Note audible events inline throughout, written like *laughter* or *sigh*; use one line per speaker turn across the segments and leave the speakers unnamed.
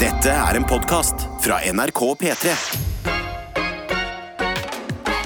Dette er en podcast fra NRK P3.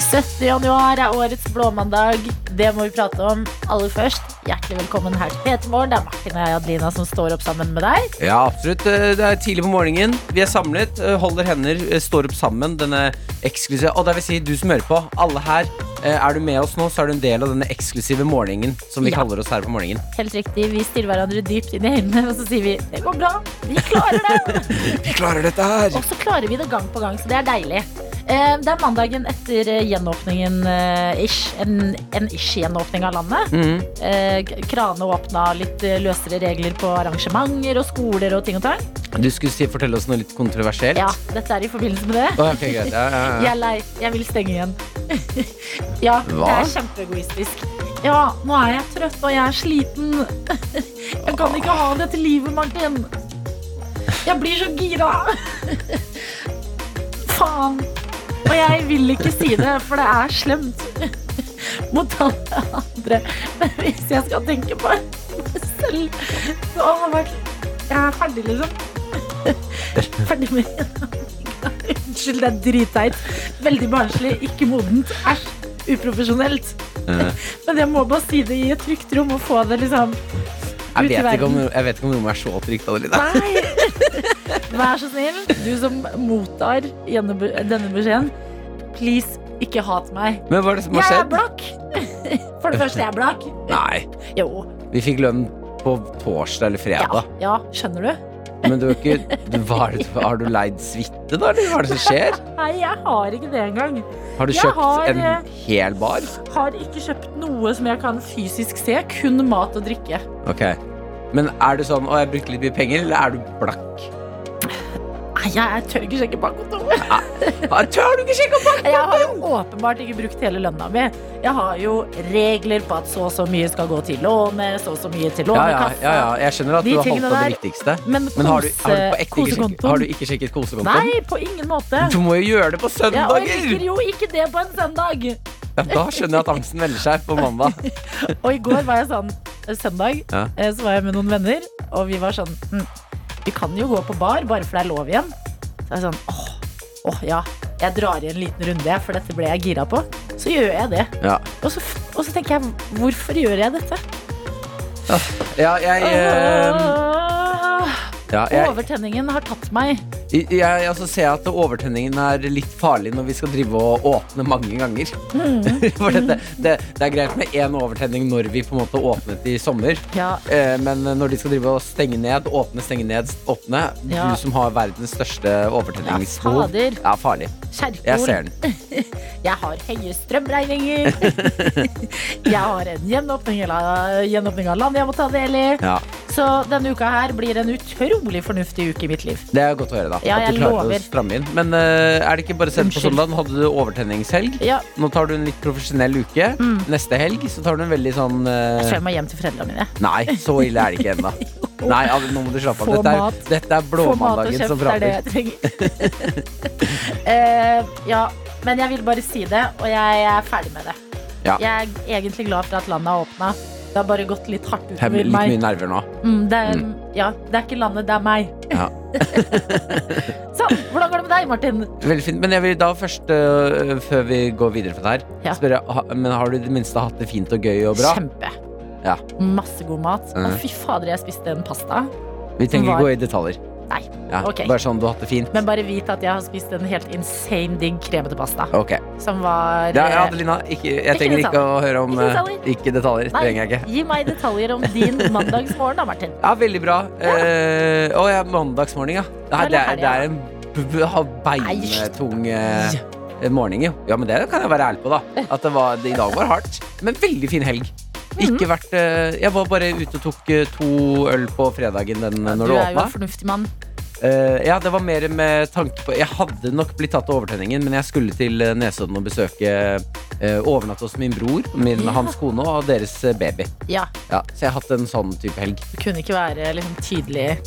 17. januar er årets blåmandag. Det må vi prate om aller først. Hjertelig velkommen her til Petermorgen. Det er Martin og jeg, Adelina, som står opp sammen med deg.
Ja, absolutt. Eh, Det er tidlig på morgenen. Vi er samlet, eh, holder hender, eh, står opp sammen. Denne eksklusive Og det vil si, du som hører på, alle her. eh, Er du med oss nå, så er du en del av denne eksklusive morgenen som vi
Ja.
kaller oss her på morgenen.
Helt riktig, vi stirrer hverandre dypt inn i øynene, og så sier vi det går bra, vi klarer det.
Vi klarer dette her!
og så klarer vi det gang på gang, så det er deilig. Eh, Det er mandagen etter eh, gjenåpningen eh, ish. En, en ish-gjenåpning av landet.
Mm.
Eh, k- Krane åpna, litt eh, løsere regler på arrangementer og skoler og ting og tang.
Du skulle si, fortelle oss noe litt kontroversielt.
Ja, dette er i forbindelse med det.
Å, ok, greit.
*laughs*
Ja, ja, ja.
Jeg er lei. Jeg vil stenge igjen. *laughs* ja, det
Hva?
er kjempeegoistisk. Ja, nå er jeg trøtt, og jeg er sliten. *laughs* jeg kan ikke ha dette livet, Martin. Jeg blir så gira. *laughs* Faen. Og jeg vil ikke si det, for det er slemt *laughs* mot alle andre. Men hvis jeg skal tenke på meg selv, så har det vært Jeg er ferdig, liksom. *laughs* Ferdig med Unnskyld, det er dritteit. Veldig barnslig, ikke modent. Æsj. Uprofesjonelt.
Eh.
*laughs* Men jeg må bare si det i et trygt rom og få det liksom
Jeg,
Ut i
vet ikke om,
verden.
jeg vet ikke om rommet er så trygt, Adelina. *laughs*
Nei! Vær så snill, du som mottar gjennom denne beskjeden, please, ikke hat meg.
Men hva er det som har
Jeg er
skjedd?
blakk! *laughs* For det første, jeg er blakk.
Nei.
Jo.
Vi fikk lønn på torsdag eller
Ja,
fredag.
ja, skjønner du?
Men du er ikke du, hva er det, Har du leid suite, da? Eller hva er det som skjer?
Nei, jeg har ikke det engang.
Har du
Jeg
kjøpt
har, eh,
en hel bar?
Har ikke kjøpt noe som jeg kan fysisk se, kun mat og drikke.
Ok Men er det sånn, å jeg brukte litt mye penger Eller er du blakk?
Nei, jeg tør ikke sjekke bankkontoen.
Ah, Tør du ikke sjekke opp?
Jeg har jo åpenbart ikke brukt hele lønna mi. Jeg har jo regler på at så og så mye skal gå til lånet, så og så mye til
Ja, ja,
lånekassa.
ja, ja, jeg skjønner at
De
du har holdt
tingene
på det
der.
viktigste
Men,
Men har du,
kose-
har du på ekte ikke sjekket,
kosekontoen
har du ikke sjekket kosekontoen?
Nei, på ingen måte.
Du må jo gjøre det på
Jeg orker
søndager
jo ikke det på en søndag.
ja, Da skjønner jeg at angsten melder seg på mandag
Og i går var jeg sånn Søndag
Ja.
eh, så var jeg med noen venner, og vi var sånn hm, Vi kan jo gå på bar, bare for det er lov igjen. Så jeg er sånn åh, åh ja. Jeg drar i en liten runde, jeg, for dette ble jeg gira på. Så gjør jeg det.
*laughs* Ja,
Og så, f- og så tenker jeg, hvorfor gjør jeg dette?
ja jeg, eh,
Åh,
ja, jeg,
Overtenningen har tatt meg.
jeg, jeg altså ser jeg at overtenningen er litt farlig Når vi skal drive og åpne mange ganger
Mm.
*laughs* For dette, det, det er greit med en overtenning Når vi på en måte åpnet i sommer
Ja,
Eh, Men når de skal drive og stenge ned, åpne, stenge ned, åpne
Ja.
Du som har verdens største
Ja,
overtenningsbehov.
fader.
Ja, farlig. Jeg
Kjerkol.
ser den.
Jeg har høye
*laughs*
strømregninger. jeg har en gjenåpning, eller, eh, gjenåpning av land jeg må ta del i.
Ja,
Så denne uka her blir en utrolig fornuftig uke i mitt liv.
det er godt å høre, da.
Ja,
at
jeg
du klarte
lover.
å stramme inn. Men eh, er det ikke bare selv på
Unnskyld.
søndag? Hadde du overtenningshelg?
Ja,
Nå tar du en litt profesjonell uke.
Mm.
Neste helg så tar du en veldig sånn eh,
jeg tror jeg må hjem til foreldrene mine.
Nei, så ille er det ikke
*laughs*
ennå. Nei, ja, nå må du slappe av.
Få
Dette
mat.
er, dette er
Få mat og
blåmandagen
kjeft er
som
det
prater.
jeg trenger. *laughs* Eh, ja, men jeg vil bare si det, og jeg er ferdig med det.
Ja.
Jeg er egentlig glad for at landet har åpna. Det har bare gått litt hardt
Jeg
utover
blir litt
meg.
mye nerver nå.
Mm, det, er, ja, det er ikke landet, det er meg. *laughs*
Ja.
sånn, hvordan går det med deg, Martin?
Veldig fint, men jeg vil da først øh, Før vi går videre fra det her
Ja.
spørre, ha, Men har du i det minste hatt det fint og gøy og bra?
Kjempe.
Ja.
Masse god mat. Å,
Mhm.
fy fader, jeg spiste en pasta.
Vi trenger
var-
ikke gå i detaljer
Nei,
ja.
ok.
Bare sånn du har hatt det fint
Men bare vit at jeg har spist en helt insane digg kremete pasta.
Ok,
Som var
ja,
eh,
Adelina, ikke, jeg trenger ikke å høre om
Ikke detaljer.
eh, Ikke detaljer,
Nei,
trenger jeg ikke
gi meg detaljer om
*laughs*
din mandagsmorgen da, Martin.
Ja, veldig bra Eh, Å, ja, mandagsmorgen, ja Nei,
Eller
det, er, det
helga.
er en b- b- ha- beintung eh, morgen, jo Ja, men det kan jeg være ærlig på da At det var, det i dag var hardt Men veldig fin helg ikke vært, eh, jeg var bare ute og tok eh, to øl på fredagen den, eh, når
du
det
er jo
åpnet
en fornuftig mann.
Eh, ja, det var mer med tanke på Jeg hadde nok blitt tatt av overtenningen, men jeg skulle til eh, Nesodden og besøke eh, Overnatte hos min bror, min,
Ja.
hans kone og deres eh, baby.
Ja,
Ja, så jeg har hatt en sånn type helg.
Du kunne ikke være liksom, tydelig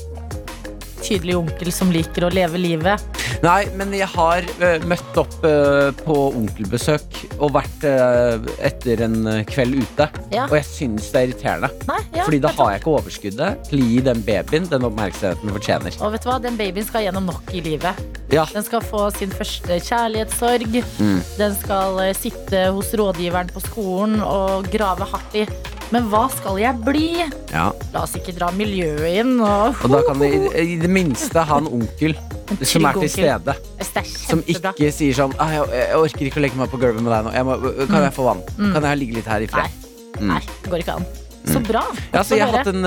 Tydelig onkel som liker å leve livet.
Nei, men jeg har eh, møtt opp eh, på onkelbesøk og vært eh, etter en eh, kveld ute.
Ja.
Og jeg syns det er irriterende.
Nei, ja.
Fordi da har jeg ikke overskuddet til å gi den babyen den oppmerksomheten den fortjener.
Og vet du hva, den babyen skal gjennom nok i livet.
Ja.
Den skal få sin første kjærlighetssorg.
Mm.
Den skal eh, sitte hos rådgiveren på skolen og grave hardt i. Men hva skal jeg bli?
ja.
La oss ikke dra miljøet inn. Og,
Og da kan vi i, i det minste ha en onkel
En
som er
trygg
til stede.
Yes, det er
Som
kjempebra.
ikke sier sånn «Ah, jeg, 'Jeg orker ikke å legge meg på gulvet med deg nå. Jeg må, øh, kan jeg få vann? Kan jeg ligge litt her i
Mm. Nei.
fred?'
Nei, det går ikke an. Så bra.
Mm. Ja, så
Få
jeg har
høre.
hatt en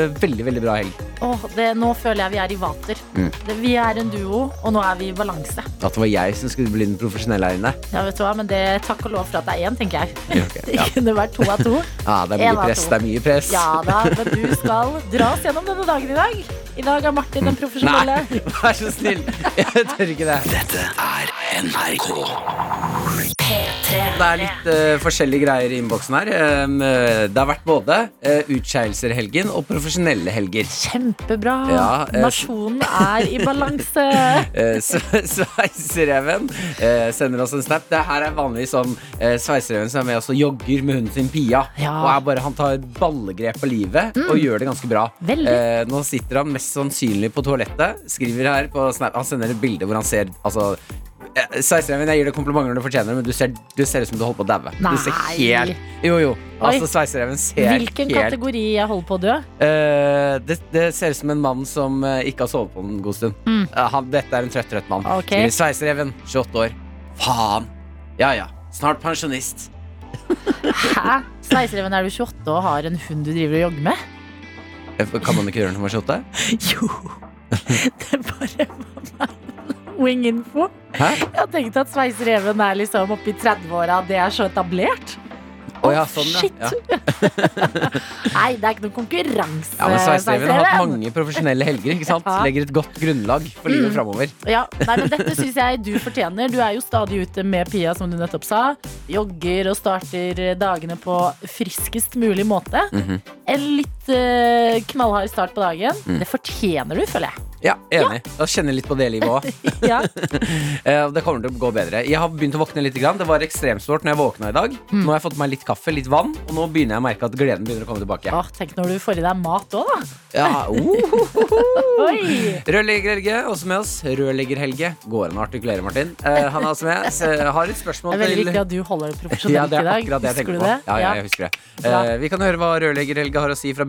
øh, veldig, veldig bra helg.
Åh, det, nå føler jeg vi er i vater.
Mm.
Det, vi er en duo, og nå er vi i balanse.
At det var jeg som skulle bli den profesjonelle her inne.
Ja, vet du hva, Men det takk og lov for at det er én, tenker jeg.
Ja, ok, ja.
*laughs* Det kunne vært to av to.
Ja, det er
En
mye
av
press.
to.
Det er mye press.
Ja da, men du skal dra oss gjennom denne dagen i dag. I dag er Martin den profesjonelle.
Nei, *laughs* vær så snill. Jeg tør ikke det.
Dette er NRK.
Det er litt eh, forskjellige greier i innboksen her. Um, eh, det har vætt både eh, utskeielser i helgen og profesjonelle helger.
Kjempebra.
Ja, eh,
Nasjonen er i balanse.
Eh, sve- Sveisereven eh, sender oss en snap. Det her er vanligvis sånn eh, Sveisereven som er med oss og jogger med hunden sin Pia.
Ja. Mm.
Og er bare, Han tar et ballegrep på livet og gjør det ganske bra.
Veldig.
Eh, nå sitter han mest sannsynlig på toalettet. Skriver her på snap Han sender et bilde hvor han ser altså, eh, Sveisereven, jeg gir deg komplimenter du fortjener, men du ser, du ser ut som du holder på å daue. Du ser
Nei.
helt Jo, jo.
Oi.
Altså, Sveisereven ser
Hvilken
*laughs* helt
kategori jeg holder på å dø?
Eh, det, det ser ut som en mann som eh, ikke har sovet på en god stund. Eh, han, dette er en trøtt, trøtt mann.
Mm. Ok.
Skriver Sveisereven, 28 år. Faen! Ja ja, snart pensjonist.
Hæ? Sveisereven, er du 28 og har en hund du driver og jogger
*laughs*
med?
Eh, Kan man ikke gjøre det når man er 28?
Jo. *laughs* Det bare var meg. *laughs* Wing-info.
Hæ?
Jeg tenkte at sveisereven er liksom oppe i 30-åra. Det er så etablert.
Å ja, sånn, ja.
Shit.
ja.
*laughs* Nei, det er ikke noen konkurranse.
Ja, men Sveisereven har hatt
Sveisereven.
mange profesjonelle helger. ikke sant?
*laughs* Ja. Mm.
Legger et godt grunnlag for livet framover.
Ja, nei, men Dette syns jeg du fortjener. Du er jo stadig ute med Pia, som du nettopp sa. Jogger og starter dagene på friskest mulig måte.
Mhm.
En litt eh, knallhard start på dagen.
Mm.
Det fortjener du, føler
*laughs*
jeg.
Ja, enig. Da kjenner jeg litt på det livet
*laughs*
òg.
Ja.
Eh, og Det kommer til å gå bedre. Jeg har begynt å våkne litt. Grann. Det var ekstremstort når jeg våkna i dag.
Mm.
Nå har jeg fått meg litt kaffe, litt vann, og nå begynner jeg å merke at gleden begynner å komme tilbake.
Åh, tenk når du får i deg mat òg, da. *laughs*
Ja, oh.
Oi!
Rørlegger Helge, også med oss. Rørlegger Helge. Går an å artikulere, Martin. Eh, han er også med. Så jeg har et
Det
spørsmål
er veldig
til
viktig at du holder det
ja,
profesjonelt
det
i
er
dag.
akkurat det jeg
Husker
tenker
du
på.
det?
Ja, ja, jeg husker det.
Bra.
Eh, vi kan høre hva rørlegger Helge har å si fra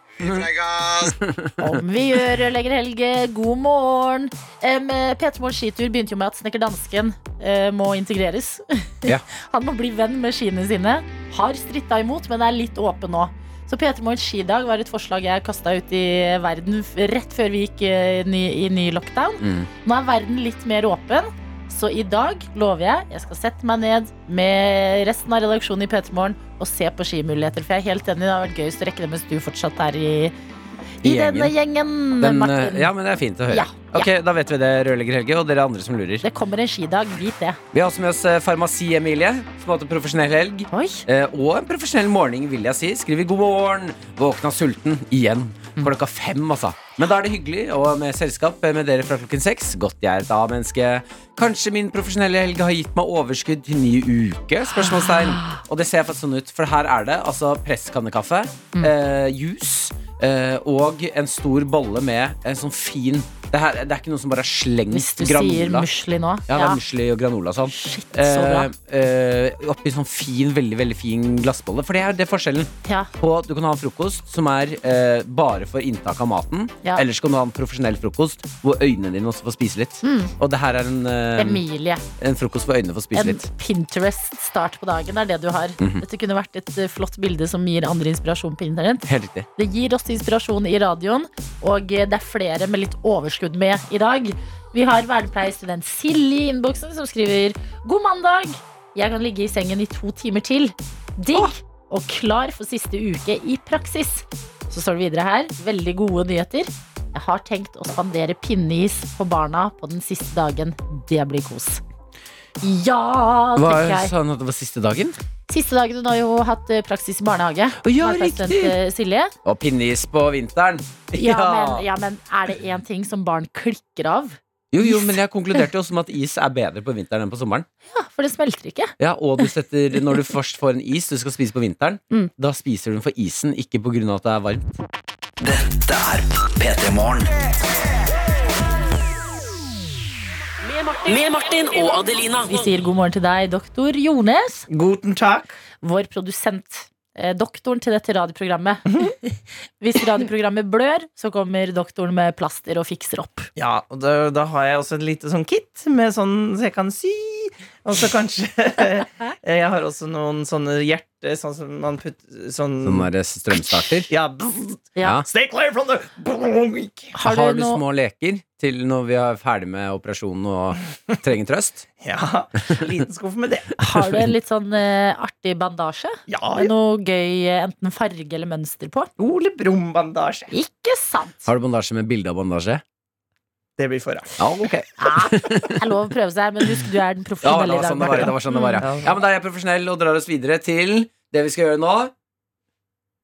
Mm.
Vi preikas!
Om vi gjør Rørlegger Helge, god morgen. Um, P3 Morgens skitur begynte jo med at snekker dansken eh, må integreres.
Ja.
*laughs* Han må bli venn med skiene sine. Har stritta imot, men er litt åpen nå. Så P3 Morgens skidag var et forslag jeg kasta ut i verden f- rett før vi gikk eh, ny, i ny lockdown.
Mm.
Nå er verden litt mer åpen. Så i dag lover jeg jeg skal sette meg ned med resten av redaksjonen i P3 Morgen og se på skimuligheter. For jeg er helt enig, det har vært gøyest å rekke det mens du fortsatt er i i
I gjengen.
denne gjengen,
Den,
Martin.
eh, ja, men det er fint å høre.
Ja, ja.
Ok, Da vet vi det, rørlegger Helge, og dere andre som lurer.
Det kommer en skidag, vit det.
Vi har også med oss eh, Farmasi-Emilie, som har hatt en profesjonell helg.
Oi.
Eh, og en profesjonell morgen, vil jeg si. Skriver 'God morgen'. Våkna sulten. Igjen. Klokka fem, altså. Men da er det hyggelig og med selskap eh, med dere fra klokken seks. Godt jeg er et A-menneske. Kanskje min profesjonelle helg har gitt meg overskudd til ny uke? Spørsmålstegn. Og det ser faktisk sånn ut, for her er det altså presskannekaffe,
Mm.
eh, juice eh, og en stor bolle med en sånn fin Det, her, det er ikke noe som bare er slengt
Hvis du sier
granola.
musli nå.
Ja, det er musli og granola og sånn.
Shit, så bra.
Eh, eh, oppi sånn fin, veldig veldig fin glassbolle. For det er det er forskjellen
Ja.
på Du kan ha en frokost som er eh, bare for inntak av maten.
Ja.
Eller så kan du ha en profesjonell frokost hvor øynene dine også får spise litt.
Mm.
Og det her er en, eh,
Emilie.
en frokost hvor øynene får spise
En
litt. Mhm.
Pinterest-start på dagen er det du har. Dette kunne vært et eh, flott bilde som gir andre inspirasjon på internett.
Helt riktig.
Det gir oss inspirasjon i radioen, og eh, det er flere med litt overskudd med i dag. Vi har vernepleierstudent Silje i innboksen som skriver God mandag! Jeg kan ligge i sengen i to timer til. Digg! og klar for siste uke i praksis. Så står det videre her. Veldig gode nyheter. Jeg har tenkt å spandere pinneis på barna på den siste dagen. Det blir kos. Ja,
Hva
tenker jeg.
sa han at det var siste dagen?
Siste dagen hun har jo hatt eh, praksis i barnehage.
Å, ja,
Barnehageassistent,
riktig!
eh, Silje.
Og pinneis på vinteren. *laughs*
Ja, Men, ja, men er det én ting som barn klikker av?
Jo, jo, men jeg konkluderte jo også med at is er bedre på vinteren enn på sommeren.
Ja, Ah, For det smelter ikke.
Ja, og du setter, Når du først får en is du skal spise på vinteren,
Mm.
da spiser du den for isen, ikke på grunn av at det er varmt.
Dette er P3 Morgen.
Med Martin og Adelina.
Vi sier god morgen til deg, doktor Jones,
Guten takk.
vår produsent. Eh, Doktoren til dette *laughs* radioprogrammet. Hvis radioprogrammet blør, så kommer doktoren med plaster og fikser opp.
Ja, og da, da har jeg også et lite sånn kit med sånn så jeg kan sy. Og så kanskje *laughs* Jeg har også noen sånne hjerter, sånn som man putter sånn
Sånn der strømstarter.
Ja. bzz,
Ja.
Ja.
Stay clear from the
Har du,
noe-
små leker til når vi er ferdig med operasjonen og trenger trøst?
Ja, liten skuff med det.
Har du
*laughs*
en litt sånn eh, artig bandasje?
Ja,
Med noe gøy, eh, enten farge eller mønster på?
Ole Brumm-bandasje.
Ikke sant?
Har du bandasje med bilde av bandasje?
Det blir for rart.
Ja, ok.
Det er lov å prøve seg, men husk du er den
Ja, det
profesjonelle i
var
dag.
sånn det var, det var, sånn det var ja. ja, men da er jeg profesjonell og drar oss videre til det vi skal gjøre nå.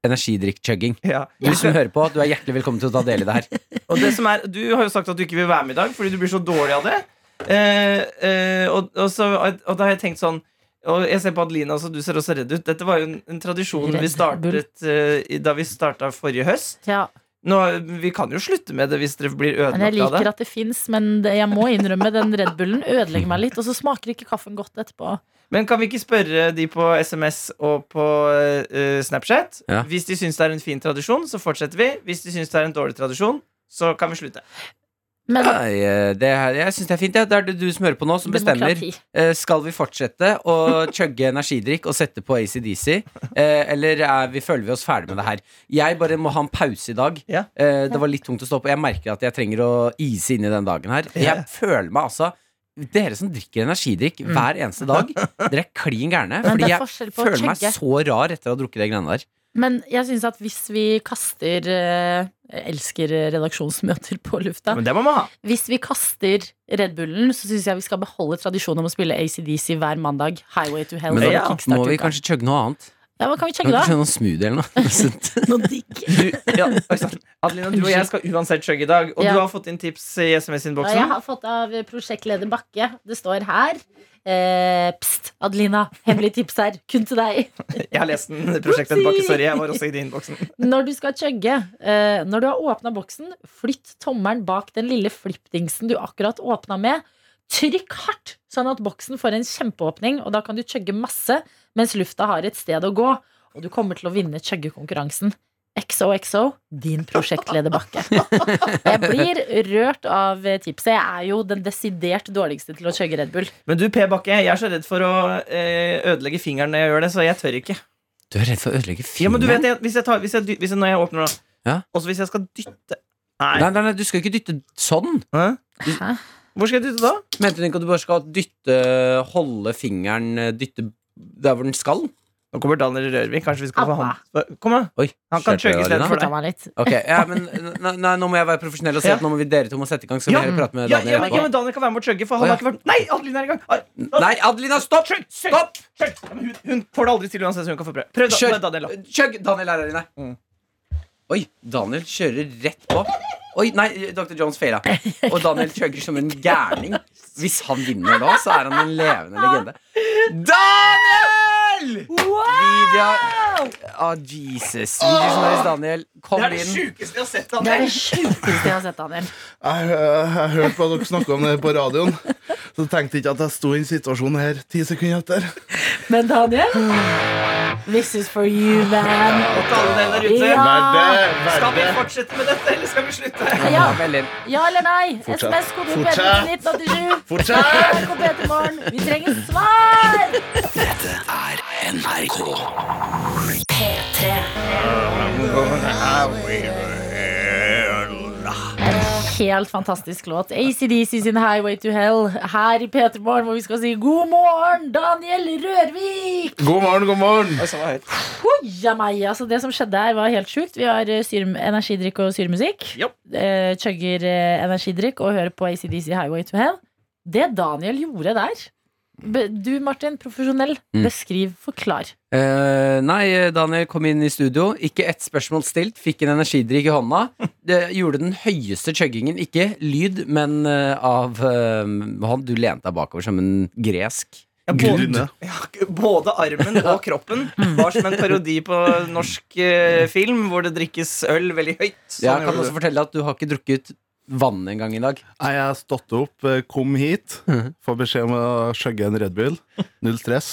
Energidrikk-chugging.
Ja.
Du som hører på, du er hjertelig velkommen til å ta del *laughs* i det her.
Og det som er, du har jo sagt at du ikke vil være med i dag fordi du blir så dårlig av det. Eh, eh, og, og, så, og da har jeg tenkt sånn Og jeg ser på Adelina også, du ser også redd ut. Dette var jo en, en tradisjon vi
Redd Bull.
startet eh, i- da vi starta forrige høst.
Ja,
Nå, vi kan jo slutte med det hvis dere blir
men jeg
ødelagt av
liker
det.
at det fins, men det, jeg må innrømme den Red Bullen ødelegger meg litt. Og så smaker ikke kaffen godt etterpå.
Men kan vi ikke spørre de på SMS og på eh, Snapchat?
Ja.
Hvis de syns det er en fin tradisjon, så fortsetter vi. Hvis de syns det er en dårlig tradisjon, så kan vi slutte.
Men
Nei, eh, det, her- jeg syns det er fint. Ja. Det er det du som hører på nå, som bestemmer.
demokrati.
Eh, Skal vi fortsette å chugge energidrikk og sette på ACDC? Eh, eller er vi, føler vi oss ferdig med det her? Jeg bare må ha en pause i dag.
Ja.
Eh, det var litt tungt å stå på. Jeg merker at jeg trenger å ise inn i den dagen her. Jeg føler meg altså Dere som drikker energidrikk
Mm.
hver eneste dag, dere er klin gærne.
Men
Fordi
det er
jeg
forskjell på å
føler meg
chugge.
så rar etter å ha drukket de greiene der.
Men jeg syns at hvis vi kaster eh, Jeg elsker redaksjonsmøter på lufta.
Men det må man ha.
Hvis vi kaster Red Bullen, så syns jeg vi skal beholde tradisjonen om å spille ACDC hver mandag. Highway to Hell.
Men
da
eller
da
Ja.
må vi
Kickstart-uka.
kanskje chugge noe annet.
Ja, men kan vi
Kan
sjekke
vi
da?
*laughs* ikke kjøre noe smoothie eller noe? Sunt.
Noe digg.
ja, oi sann. Adelina, du og jeg skal uansett chugge i dag. Og
Ja.
du har fått inn tips i
Ja, jeg
SMS-innboksen.
har fått av prosjektleder Bakke. Det står her. Eh, pst, Adelina. Hemmelig tips her. Kun til deg.
Jeg har lest den. Prosjektet tilbake, sorry. Jeg var også i din innboksen.
Når du skal chugge, eh, når du har åpna boksen, flytt tommelen bak den lille flippdingsen du akkurat åpna med. Trykk hardt, sånn at boksen får en kjempeåpning, og da kan du chugge masse mens lufta har et sted å gå. Og du kommer til å vinne chuggekonkurransen. XOXO, din prosjektleder Bakke. Jeg blir rørt av eh, tipset. Jeg er jo den desidert dårligste til å chugge Red Bull.
Men du, P. Bakke, jeg er så redd for å eh, ødelegge fingeren når jeg gjør det, så jeg tør ikke.
Du er redd for å ødelegge
Ja, men du vet,
filmen?
jeg, hvis jeg tar, hvis jeg, dy- hvis jeg, når jeg åpner, da.
Ja.
Og så hvis jeg skal dytte Nei.
Nei, nei, nei, du skal ikke dytte sånn.
Hæ?
Hæ?
Hvor skal jeg dytte da?
Mente du ikke at du bare skal dytte Holde fingeren eh, Dytte der hvor den skal?
Nå kommer Daniel Rørvik. Kanskje vi skal få
Abba.
han Kom, da.
Oi,
Han kan
skjerp deg,
chugge
Adelina.
istedenfor
Ta
deg.
meg litt.
Ok, ja, men nei, nei, Nå må jeg være profesjonell og si at
Ja.
nå må vi dere to må sette i gang. Så
Ja.
vi prate med
Ja,
Daniel
ja, men, ja,
etterpå.
men Daniel kan være med å chugge, for
Å,
han
ja.
har ikke vært Nei, Adelina er i gang! Ah,
Nei, Adelina, stopp!
Chugg, chugg,
Stopp!
chugg. Ja, men hun, hun får det aldri til uansett, så hun kan få prøve. Prøv, da,
Kjør.
Daniel. da. Mm.
Kjøgg! Daniel er her inne. Oi, Daniel kjører rett på. Oi, nei, Dr. Jones feila. Og Daniel kjøgger som en gærning. Hvis han vinner da, så er han en levende legende. Daniel! Media Ah, Jesus. Videojournalist Daniel, kom
Det er det
inn.
sjukeste jeg har sett.
Det er
Daniel.
det sjukeste jeg har sett, Daniel.
*laughs* Jeg, jeg, jeg hørte hva dere snakka om det på radioen. Så tenkte jeg ikke at jeg sto i en situasjon her ti sekunder etter.
Men Daniel This is for you, man.
Og til alle dere der ute.
Ja.
Verde,
Skal vi
verde.
fortsette med dette, eller skal vi slutte?
Ja,
Vel inn.
ja eller nei?
Fortsett.
SMS kode
Fortsett.
P3 til 1987.
Fortsett!
Takk og bedre morgen. Vi trenger svar!
Dette er NRK.
En helt fantastisk låt. ACDC sin Highway to Hell her i P3 Morgen, hvor vi skal si god morgen, Daniel Rørvik!
God morgen, god morgen!
Oi, så var jeg høyt.
Hoia meg, altså Det som skjedde her, var helt sjukt. Vi har eh, syre, energidrikk og syremusikk.
Jopp.
Eh, chugger eh, energidrikk og hører på ACDC Highway to Hell. Det Daniel gjorde der Be, Du, Martin, profesjonell.
Mm.
Beskriv, forklar.
Eh, nei, Daniel kom inn i studio. Ikke ett spørsmål stilt. Fikk en energidrikk i hånda. Det gjorde den høyeste chuggingen. Ikke lyd, men eh, av eh, han Du lente deg bakover som en gresk.
Ja, både,
Grunne.
ja, både armen og kroppen var som en parodi på norsk eh, film, hvor det drikkes øl veldig høyt.
jeg
Sånn
kan
gjorde
også fortelle deg at du har ikke drukket vann engang i dag.
*laughs* Nei, Jeg har stått opp, eh, kom hit, får beskjed om å skjøgge en Red Bull. Null stress.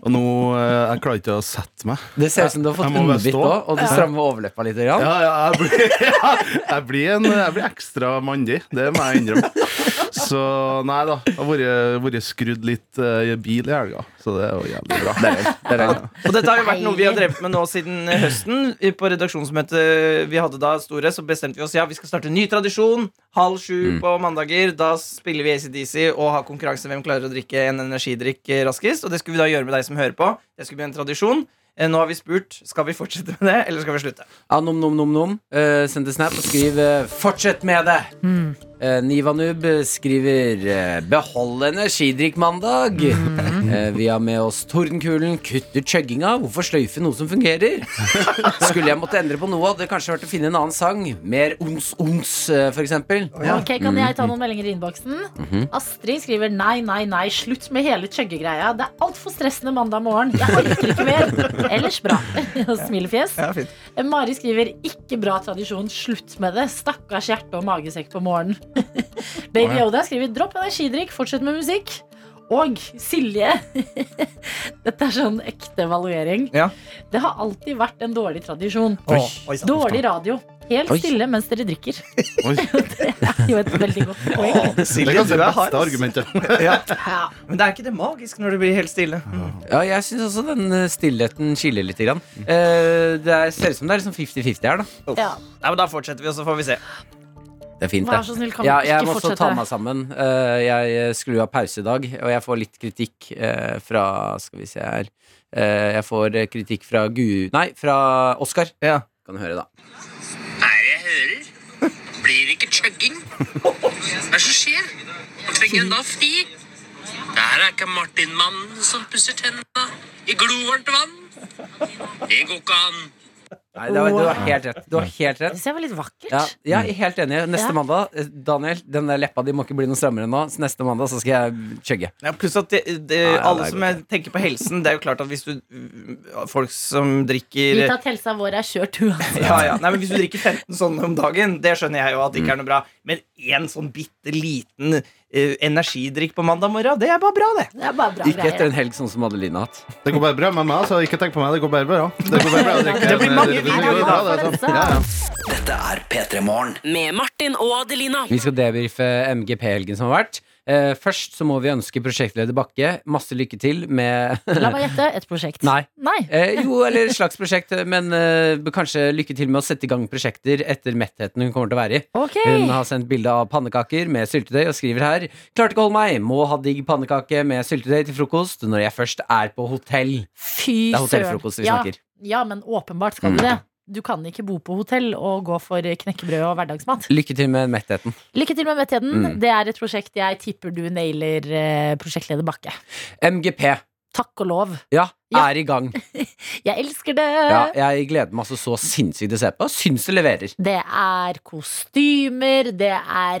Og nå eh, Jeg klarer ikke å sette meg.
Det ser ut som du har
Jeg
fått
må bare
innbitt
stå.
nå, og du strammer overleppa litt. Grann.
Ja, ja, jeg blir, *laughs* ja, jeg blir, en, jeg blir ekstra mandig. Det må jeg innrømme. Så nei da. Jeg har vært- vært skrudd litt eh, i bil i helga, så det er jo jævlig bra.
Og dette har jo vært noe vi har drevet med nå siden høsten. På redaksjonsmøtet vi hadde da, Store, så bestemte vi oss Ja, vi skal starte en ny tradisjon. Halv sju
Mm.
på mandager. Da spiller vi ACDC og har konkurranse hvem klarer å drikke en energidrikk eh, raskest. Og det skulle vi da gjøre med deg som hører på. Det skulle bli en tradisjon. Eh, Nå har vi spurt skal vi fortsette med det, eller skal vi slutte.
Anom, nom, nom, nom. Eh, send til Snap og skriv eh, 'fortsett med det'. Eh, Nivanub eh, skriver eh, 'behold energidrikkmandag'. Eh, vi har med oss Tordenkulen, kutt ut chugginga. Hvorfor sløyfe noe som fungerer? Skulle jeg måtte endre på noe, hadde det kanskje vært å finne en annen sang. Mer ons, ons, eh, for eksempel.
Ok, Kan jeg ta noen meldinger i innboksen? Astrid skriver nei, nei, nei. Slutt med hele chuggegreia. Det er altfor stressende mandag morgen. Jeg orker ikke mer. Ellers bra. *laughs* Smilefjes.
fint.
Mari skriver ikke bra tradisjon. Slutt med det. Stakkars hjerte og magesekk på morgenen. *laughs* Baby Oda skriver dropp energidrikk, fortsett med musikk. Og Silje *laughs* Dette er sånn ekte evaluering.
Ja.
Det har alltid vært en dårlig tradisjon.
Oi. Oi, sant.
Dårlig radio. Helt
Oi.
stille mens dere drikker.
*laughs*
Oi,
*laughs* Det er jo et veldig godt poeng.
det
Silje,
er kanskje
du
det
er hard,
beste
ass.
argumentet.
Ja.
Men det er ikke det magisk når det blir helt stille. Mm.
Ja, jeg syns også den eh, stillheten kiler litt. Grann. Eh, det er, ser ut som det er litt sånn 50-50 her, da.
Ja.
Nei, men Da fortsetter vi, og så får vi se.
Det er fint, det.
Vær så snill, kan
Ja,
vi
jeg
ikke
må også ta
fortsette?
meg sammen. Eh, Jeg skrur av pause i dag, og jeg får litt kritikk eh, fra Skal vi se her Eh, Jeg får eh, kritikk fra Gu... Nei, fra Oskar.
Ja.
Kan du høre, da.
Er jeg hører? Blir det ikke chugging? Hva er det som skjer? Man trenger en da fri. Det her er ikke Martin Mannen som pusser tennene i glovarmt vann. Det går ikke an.
Nei, det var, du har helt rett. Du har helt
Det
rett.
ser veldig vakkert.
Ja, ja, jeg er helt enig. Neste
Ja.
mandag, eh, Daniel, den der leppa di må ikke bli noe strammere nå. Så neste mandag så skal jeg chugge.
Ja, pluss at det, det,
ja, det er
alle
godt,
som jeg tenker på helsen Det er jo klart at hvis du Folk som drikker
Gitt at helsa vår er kjørt uansett.
ja, ja. Nei, men Hvis du drikker 15 sånne om dagen, det skjønner jeg jo at det
Mm.
ikke er noe bra. Men én sånn bitte liten eh, energidrikk på mandag morgen, det er bare bra, det.
Det er bare bra
Ikke
greier.
etter en helg sånn som Adelina har hatt.
Det går bare bra med meg, så ikke tenk på meg. Det går bare bra. Det, går bare bra.
*laughs*
Det,
Det blir mange
går bra, det, altså. Ja, ja.
Dette er P3 Morgen.
Med Martin og Adelina.
Vi skal debrife MGP-helgen som har vært. Eh, Først så må vi ønske prosjektleder Bakke masse lykke til med *laughs*
La meg gjette. Et prosjekt.
Nei.
Nei.
Eh, jo, eller et slags prosjekt, men eh, kanskje lykke til med å sette i gang prosjekter etter mettheten hun kommer til å være i.
Ok.
Hun har sendt bilde av pannekaker med syltetøy og skriver her Klarte ikke å holde meg, må ha digg pannekake med syltetøy til frokost når jeg først er på hotell.
Fy
Det er
søren.
hotellfrokost vi
Ja.
snakker. Mm.
Ja, men åpenbart skal du det. Du kan ikke bo på hotell og gå for knekkebrød og hverdagsmat.
Lykke til med mettheten.
Lykke til med mettheten.
Mm.
Det er et prosjekt jeg tipper du nailer eh, prosjektleder Bakke.
MGP,
Takk og lov.
ja,
Ja.
er i gang.
Jeg elsker det!
Ja, jeg gleder meg altså så sinnssykt til å se på. Syns det leverer.
Det er kostymer, det er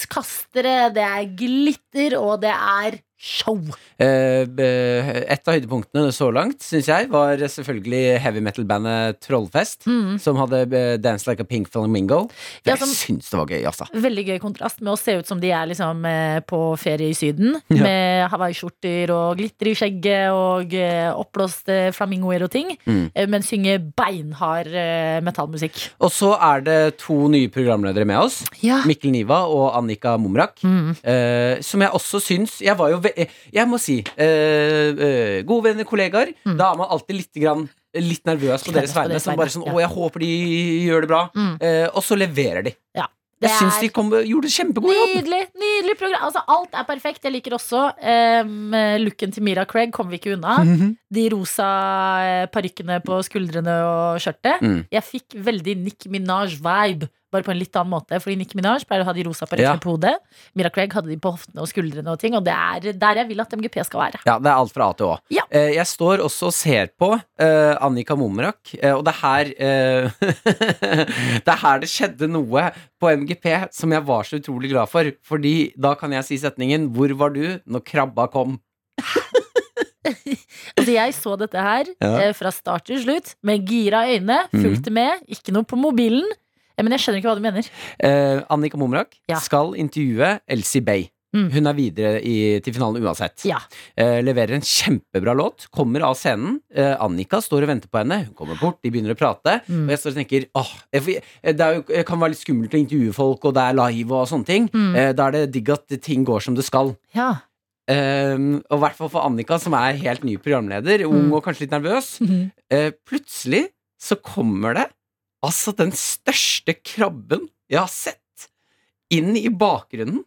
lyskastere, det er glitter, og det er show.
Eh, eh, Et av høydepunktene så langt, syns jeg, var selvfølgelig heavy metal-bandet Trollfest. Som hadde eh, Dance Like a Pink Flamingo.
Mm. Ja,
Jeg
som-
syns det var gøy, altså.
Veldig gøy kontrast med å se ut som de er liksom eh, på ferie i Syden.
Ja.
Med hawaiiskjorter og glitter i skjegget og eh, oppblåste flamingoer og ting.
Mm.
eh, Men synge beinhard eh, metallmusikk.
Og så er det to nye programledere med oss.
Ja.
Mikkel Niva og Annika Momrak.
Mm.
Eh, som jeg også syns Jeg var jo ve eh, Jeg må si eh, eh, Gode venner, kollegaer.
Mm.
Da er man alltid litt, grann, litt nervøs på
Litt
deres
nervøs på
vegne.
deres
Som
vegne,
bare sånn
ja.
Å, jeg håper de gjør det bra.
Mm.
Eh, og så leverer de. Jeg syns de kom, gjorde en kjempegod jobb.
Nydelig, nydelig program. Altså, alt er perfekt. Jeg liker også em, looken til Mira Craig. Kommer vi ikke unna.
Mhm.
De rosa eh, parykkene på skuldrene og skjørtet.
Mm.
Jeg fikk veldig Nicki Minaj-vibe, bare på en litt annen måte. Fordi Nicki Minaj pleier å ha de rosa
Ja.
parykkene på hodet. Mira Craig hadde de på hoftene og skuldrene og ting, og det er der jeg vil at MGP skal være.
Ja, det er alt fra A til Å.
Ja.
Eh, Jeg står også og ser på eh, Annika Momrak, eh, og det er her eh, *laughs* Det er her det skjedde noe på MGP som jeg var så utrolig glad for. Fordi da kan jeg si setningen 'Hvor var du når krabba kom'?
Altså, jeg så dette her
Ja. Mhm.
eh, fra start til slutt, med gira øyne, fulgte med, ikke noe på mobilen. Eh, Men jeg skjønner ikke hva du mener.
Eh, Annika Momrak
Ja.
skal intervjue Elsie Bay.
Mm.
Hun er videre i, til finalen uansett.
Ja.
Eh, leverer en kjempebra låt, kommer av scenen. Eh, Annika står og venter på henne. Hun kommer bort, de begynner å prate.
Mm.
Og jeg står og tenker åh, jeg får- eh, det er jo, jeg kan være litt skummelt å intervjue folk, og det er live og sånne ting.
Mm.
Eh, da er det digg at ting går som det skal.
Ja.
Eh, og i hvert fall for Annika, som er helt ny programleder,
Mm.
ung og kanskje litt nervøs.
Mhm.
Eh, plutselig så kommer det altså den største krabben jeg har sett, inn i bakgrunnen.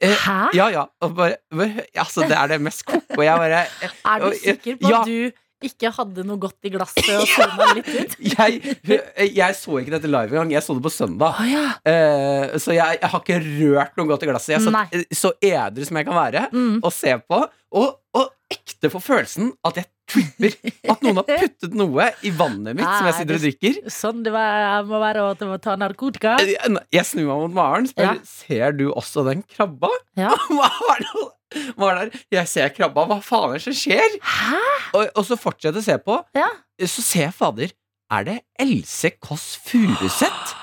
Eh,
Hæ?
Ja, ja. Og bare, bare, altså, det er det mest koko jeg bare
Er du
Og, eh,
sikker på
ja.
at du ikke hadde noe godt i glasset og sovna
*laughs*
litt ut?
jeg, jeg så ikke dette live engang. Jeg så det på søndag.
Å ja.
Eh, så jeg, jeg har ikke rørt noe godt i glasset. Jeg
Nei.
satt eh, så edru som jeg kan være,
Mm.
og ser på. Og, og ekte får følelsen at jeg tripper. At noen har puttet noe i vannet mitt som jeg sitter og drikker.
Sånn det var, må være å ta- ta narkotika.
Eh, Jeg snur meg mot Maren og spør
Ja.
Ser du også den krabba.
Ja.
*laughs* Hva er det hva er det her? Jeg ser krabba. Hva faen er det som skjer?
Hæ?
Og, og så fortsetter jeg å se på.
Ja.
Så ser jeg, fader, er det Else Kåss Furuseth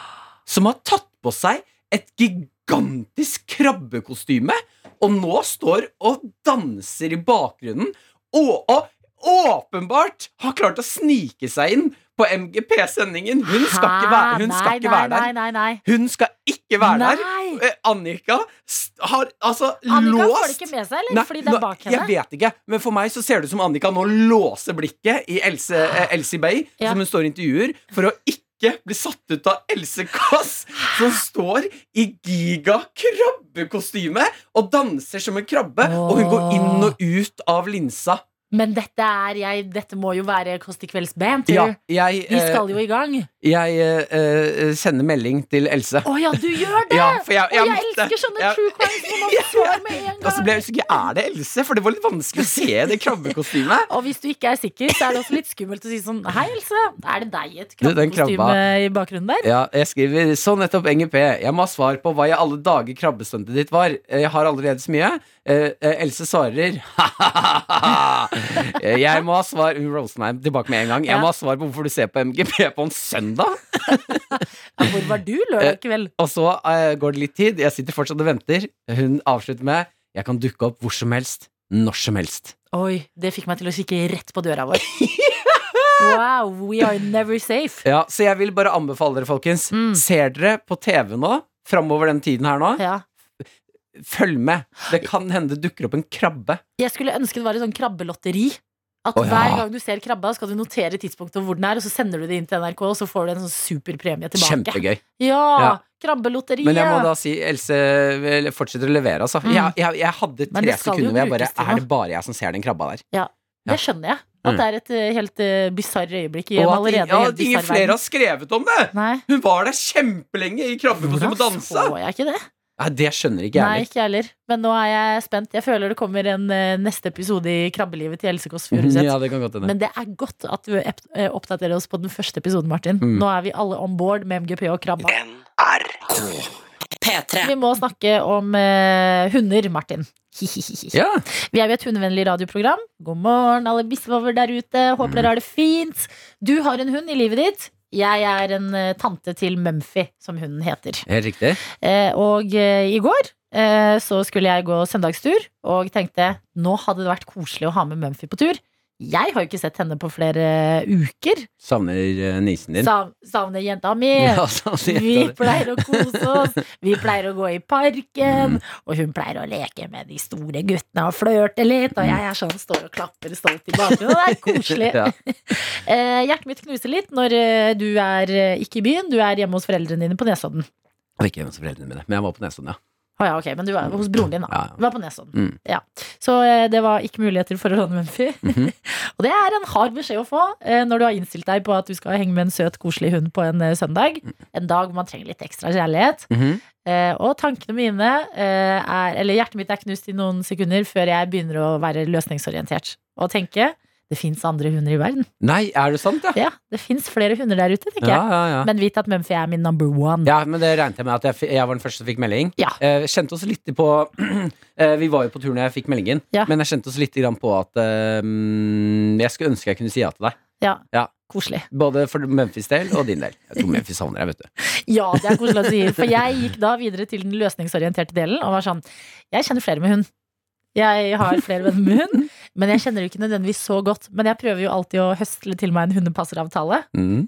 som har tatt på seg et gigantisk krabbekostyme, og nå står og danser i bakgrunnen, og, og åpenbart har klart å snike seg inn på MGP-sendingen. Hun skal ikke være, hun skal
Nei,
ikke være
nei,
der.
Nei, nei, nei.
Hun skal ikke være der.
Nei.
Eh, Annika s- har altså
Annika får det
låst
ikke med seg, eller?
Nei,
Fordi det
nå-
er bak
Jeg
henne.
vet ikke, men for meg så ser det ut som Annika nå låser blikket i Else, eh, Elsie Bay,
Ja.
som hun står og intervjuer, for å ikke bli satt ut av Else Kåss, som står i giga krabbekostyme og danser som en krabbe, og hun går inn og ut av linsa.
Men dette, er jeg, dette må jo være Kåss til kvelds bandtur.
Ja, jeg,
Vi
eh,
skal jo i gang.
jeg eh, eh, sender melding til Else.
Å ja, du gjør det!
Ja, for
Å,
jeg-
jeg,
jeg måtte-
elsker sånne
jeg-
true crimes hvor
*laughs*
man får svar med en gang.
Og så ble Altså, jeg usikker, er det Else? For det var litt vanskelig å se det krabbekostymet.
Og hvis du ikke er sikker, så er det også litt skummelt å si sånn Hei, Else, er det deg i et
Du, den krabba-
krabbekostyme i bakgrunnen der?
Ja, jeg skriver så nettopp NGP. Jeg må ha svar på hva i alle dager krabbestuntet ditt var. Jeg har allerede så mye. Eh, eh, Else svarer *laughs* Eh, Jeg må ha svar Hun roser meg tilbake med en gang. Jeg
Ja.
må ha svar på hvorfor du ser på MGP på en søndag.
Ja, hvor var du lørdag kveld?
Og så eh, går det litt tid. Jeg sitter fortsatt og venter. Hun avslutter med Jeg kan dukke opp hvor som helst. Når som helst.
Oi, det fikk meg til å kikke rett på døra vår. Wow, we are never safe.
Ja, Så jeg vil bare anbefale dere, folkens.
Mm.
Ser dere på TV nå, framover den tiden her nå,
Ja.
følg med. Det kan hende det dukker opp en krabbe.
Jeg skulle ønske det var et sånn krabbelotteri. At
Å, ja.
hver gang du ser krabba, skal du notere tidspunktet og hvor den er, og så sender du det inn til NRK, og så får du en sånn superpremie tilbake.
Kjempegøy.
Ja,
Ja.
krabbelotteriet.
Men jeg må da si Else vel, fortsetter å levere, altså.
Mm.
Jeg, jeg, jeg hadde
Men
tre
det skal jo
sekunder hvor jeg bare
brukes til
Er
noe.
det bare jeg som ser den krabba der?
Det skjønner jeg. At
Mm.
det er et eh, helt uh, bisarr øyeblikk i en
Og at,
allerede
ja,
helt
at ingen
bisarr
flere
verden.
har skrevet om det!
Nei,
Hun var der kjempelenge i krabbekostyme og
hvordan
dansa!
så jeg ikke det?
Nei, det skjønner ikke
Nei,
jeg
ikke jeg heller. Men nå er jeg spent. Jeg føler det kommer en eh, neste episode i Krabbelivet til Else Kåss
heller.
Furuseth.
Ja, det kan godt hende.
Men det er godt at du ep- eh, oppdaterer oss på den første episoden, Martin.
Mm.
Nå er vi alle on board med MGP og krabba.
P3.
Vi må snakke om eh, hunder, Martin. *laughs*
Ja.
Vi er jo et hundevennlig radioprogram. God morgen, alle biskover der ute. Håper dere har det fint. Du har en hund i livet ditt. Jeg er en eh, tante til Mumphy, som hunden heter.
Helt riktig.
Eh, og eh, i går eh, så skulle jeg gå søndagstur, og tenkte nå hadde det vært koselig å ha med Mumphy på tur. Jeg har jo ikke sett henne på flere eh, uker.
Savner eh, nisen din.
Sav, savner jenta mi.
*laughs* Ja, savner
Vi
jenta di.
pleier å kose
*laughs*
oss. Vi pleier å gå i parken.
Mm.
Og hun pleier å leke med de store guttene og flørte litt. Og jeg er sånn, står og klapper stolt i bakgrunnen. og Det er koselig.
*laughs* Ja.
Eh, hjertet mitt knuser litt når eh, du er eh, ikke i byen, du er hjemme hos foreldrene dine på Nesodden.
Jeg var ikke hjemme hos foreldrene mine, men jeg var på Nesodden, ja.
Å ja, ok, men du var hos broren din, da.
Ja, ja.
Du var på Nesodden.
Mm.
Ja. Så eh, det var ikke muligheter for å råne Mumphy.
Mhm.
*laughs* og det er en hard beskjed å få eh, når du har innstilt deg på at du skal henge med en søt, koselig hund på en eh, søndag.
Mm.
En dag hvor man trenger litt ekstra kjærlighet.
Mhm.
Eh, og tankene mine eh, er Eller hjertet mitt er knust i noen sekunder før jeg begynner å være løsningsorientert og tenke det fins andre hunder i verden.
Nei, er det sant, ja?
Ja, det fins flere hunder der ute, tenker
Ja,
jeg.
ja, ja.
Men vit at Mumphy er min number one.
Ja, men det regnet jeg med at jeg, fi- jeg var den første som fikk melding.
Ja.
Eh, kjente oss litt på *clears throat* eh, Vi var jo på tur når jeg fikk meldingen,
Ja.
men jeg kjente oss litt grann på at eh, mm, jeg skulle ønske jeg kunne si ja til deg.
Ja.
Ja.
Koselig.
Både for Memphis' del og din del. Jeg tror Memphis savner deg, vet du.
Ja, det er koselig å si. For jeg gikk da videre til den løsningsorienterte delen og var sånn Jeg kjenner flere med hund. Jeg har flere venner med hund, men jeg kjenner det ikke nødvendigvis så godt. Men jeg prøver jo alltid å høstle til meg en hundepasseravtale.
Mm.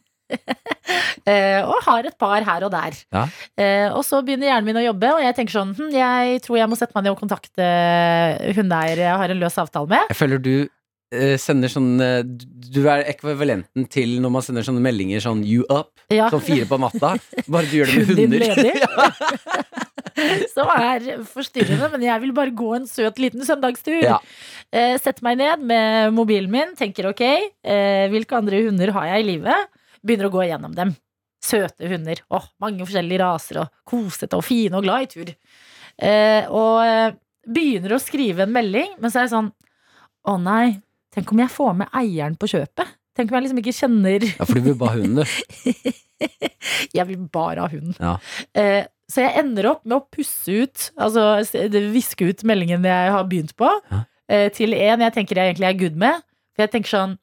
eh, Og har et par her og der.
Ja.
Eh, Og så begynner hjernen min å jobbe, og jeg tenker sånn hm, Jeg tror jeg må sette meg ned og kontakte hundeeiere jeg har en løs avtale med.
Jeg føler du eh, sender sånn eh, Du du er ekvivalenten til når man sender sånne meldinger sånn you up,
Ja.
sånn fire på natta. Bare du gjør det med
*laughs* Hunden din
hunder.
ledig.
*laughs*
*laughs* Som er forstyrrende, men jeg vil bare gå en søt liten søndagstur.
Ja.
Eh, sette meg ned med mobilen min, tenker ok, eh, hvilke andre hunder har jeg i livet? Begynner å gå gjennom dem. Søte hunder. Åh, mange forskjellige raser, og kosete og fine og glad i tur. Eh, og eh, begynner å skrive en melding, men så er jeg sånn Å nei, tenk om jeg får med eieren på kjøpet? Tenk om jeg liksom ikke kjenner
Ja, for du vil bare hunden, du.
jeg vil bare ha hunden.
Ja.
Eh, så jeg ender opp med å pusse ut, altså s- det- viske ut meldingen jeg har begynt på,
Ja.
eh, til en jeg tenker jeg egentlig er good med. For jeg tenker sånn,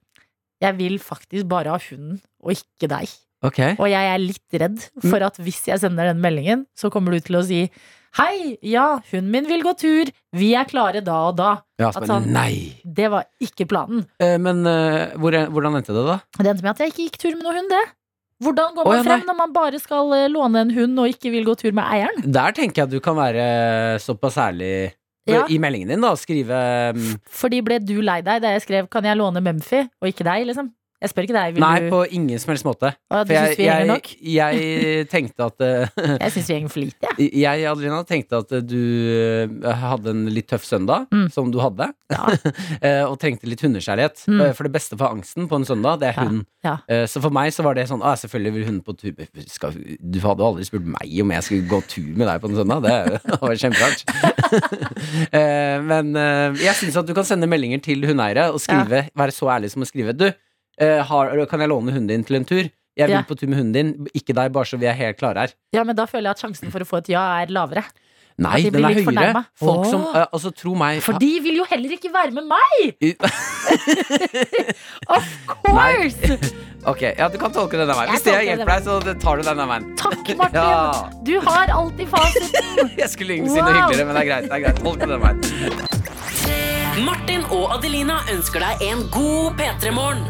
jeg vil faktisk bare ha hunden, og ikke deg.
Ok.
Og jeg er litt redd
Mm.
for at hvis jeg sender den meldingen, så kommer du til å si Hei, ja, hunden min vil gå tur. Vi er klare da og da.
Ja, så
At
bare,
han-
Nei!
Det var ikke planen.
Eh, men eh, hvor, hvordan endte det, da?
Det endte med at jeg ikke gikk tur med noen hund, det. Hvordan går man
Å, ja,
frem
nei.
når man bare skal eh, låne en hund og ikke vil gå tur med eieren?
Der tenker jeg at du kan være såpass ærlig
Ja.
i meldingen din, da. og Skrive mm,
Fordi ble du lei deg da jeg skrev 'Kan jeg låne Mumphy?' og ikke deg, liksom? Jeg spør ikke deg. Vil
Nei,
du
på ingen som helst måte.
Å, Du syns vi henger
jeg,
nok?
jeg tenkte at eh, *laughs*
Jeg syns vi henger for lite, jeg.
Jeg, Adelina, tenkte at eh, du eh, hadde en litt tøff søndag,
Mm.
som du hadde,
Ja.
*laughs* eh, og trengte litt hundekjærlighet.
Mm.
Eh, For det beste for angsten på en søndag, det er
Ja.
hund.
Ja.
Eh, Så for meg så var det sånn ah, Selvfølgelig vil hunden på tur skal, Du hadde jo aldri spurt meg om jeg skulle gå tur med deg på en søndag. *laughs* Det var kjemperart. *laughs* Eh, Men eh, jeg syns at du kan sende meldinger til hundeeiere og skrive, være så ærlig som å skrive Du, eh, har, kan jeg låne hunden din til en tur? Jeg vil
Ja.
på tur med hunden din, ikke deg, bare så vi er helt klare her.
Ja, men da føler jeg at sjansen for å få et ja er lavere. At
Nei,
de
den
blir
er
litt
høyere.
fornærmet.
Folk som
Åh.
eh, Altså, tro meg
For de vil jo heller ikke være med meg!
*laughs*
Of course!
Ok, ja, du kan tolke denne veien.
Jeg
Hvis jeg
tolker den
hjelper deg, så tar du denne veien. *laughs*
Takk, Martin!
Ja.
Du har alltid fasiten.
Jeg skulle egentlig si noe
Wow.
hyggeligere, men det er greit. Det er greit. Tolk den veien.
Martin og Adelina ønsker deg en god P3-morgen.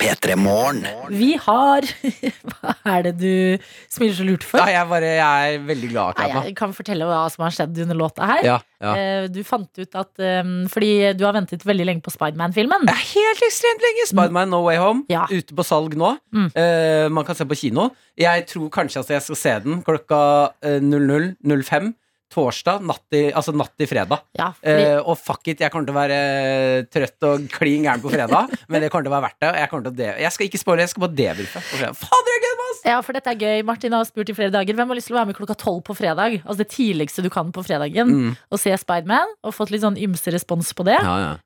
Vi har *laughs* Hva er det du smiler så lurt for?
Ja, jeg, bare, jeg er veldig glad
Nei,
akkurat nå.
jeg kan fortelle hva som har skjedd under låta her.
Ja, ja.
Eh, Du fant ut at eh, Fordi du har ventet veldig lenge på Spiderman-filmen.
Det er helt ekstremt lenge! Spiderman No Way Home,
Mm. Ja.
ute på salg nå.
Mm.
Eh, man kan se på kino. Jeg tror kanskje at jeg skal se den klokka eh, 00.05 torsdag, natt til, altså natt til fredag.
Ja, fordi
Eh, og fuck it, jeg kommer til å være eh, trøtt og klin gæren på fredag,
*laughs*
men det kommer til å være verdt det. og Jeg, kommer til å de- jeg skal ikke spoile, jeg skal bare debrife på fredag. Fader, jeg gleder meg! ass!
Ja, for dette er gøy. Martin har spurt i flere dager Hvem har lyst til å være med klokka tolv på fredag. Altså det tidligste du kan på fredagen.
Mm.
Og se Spiderman. Og fått litt sånn ymse respons på det.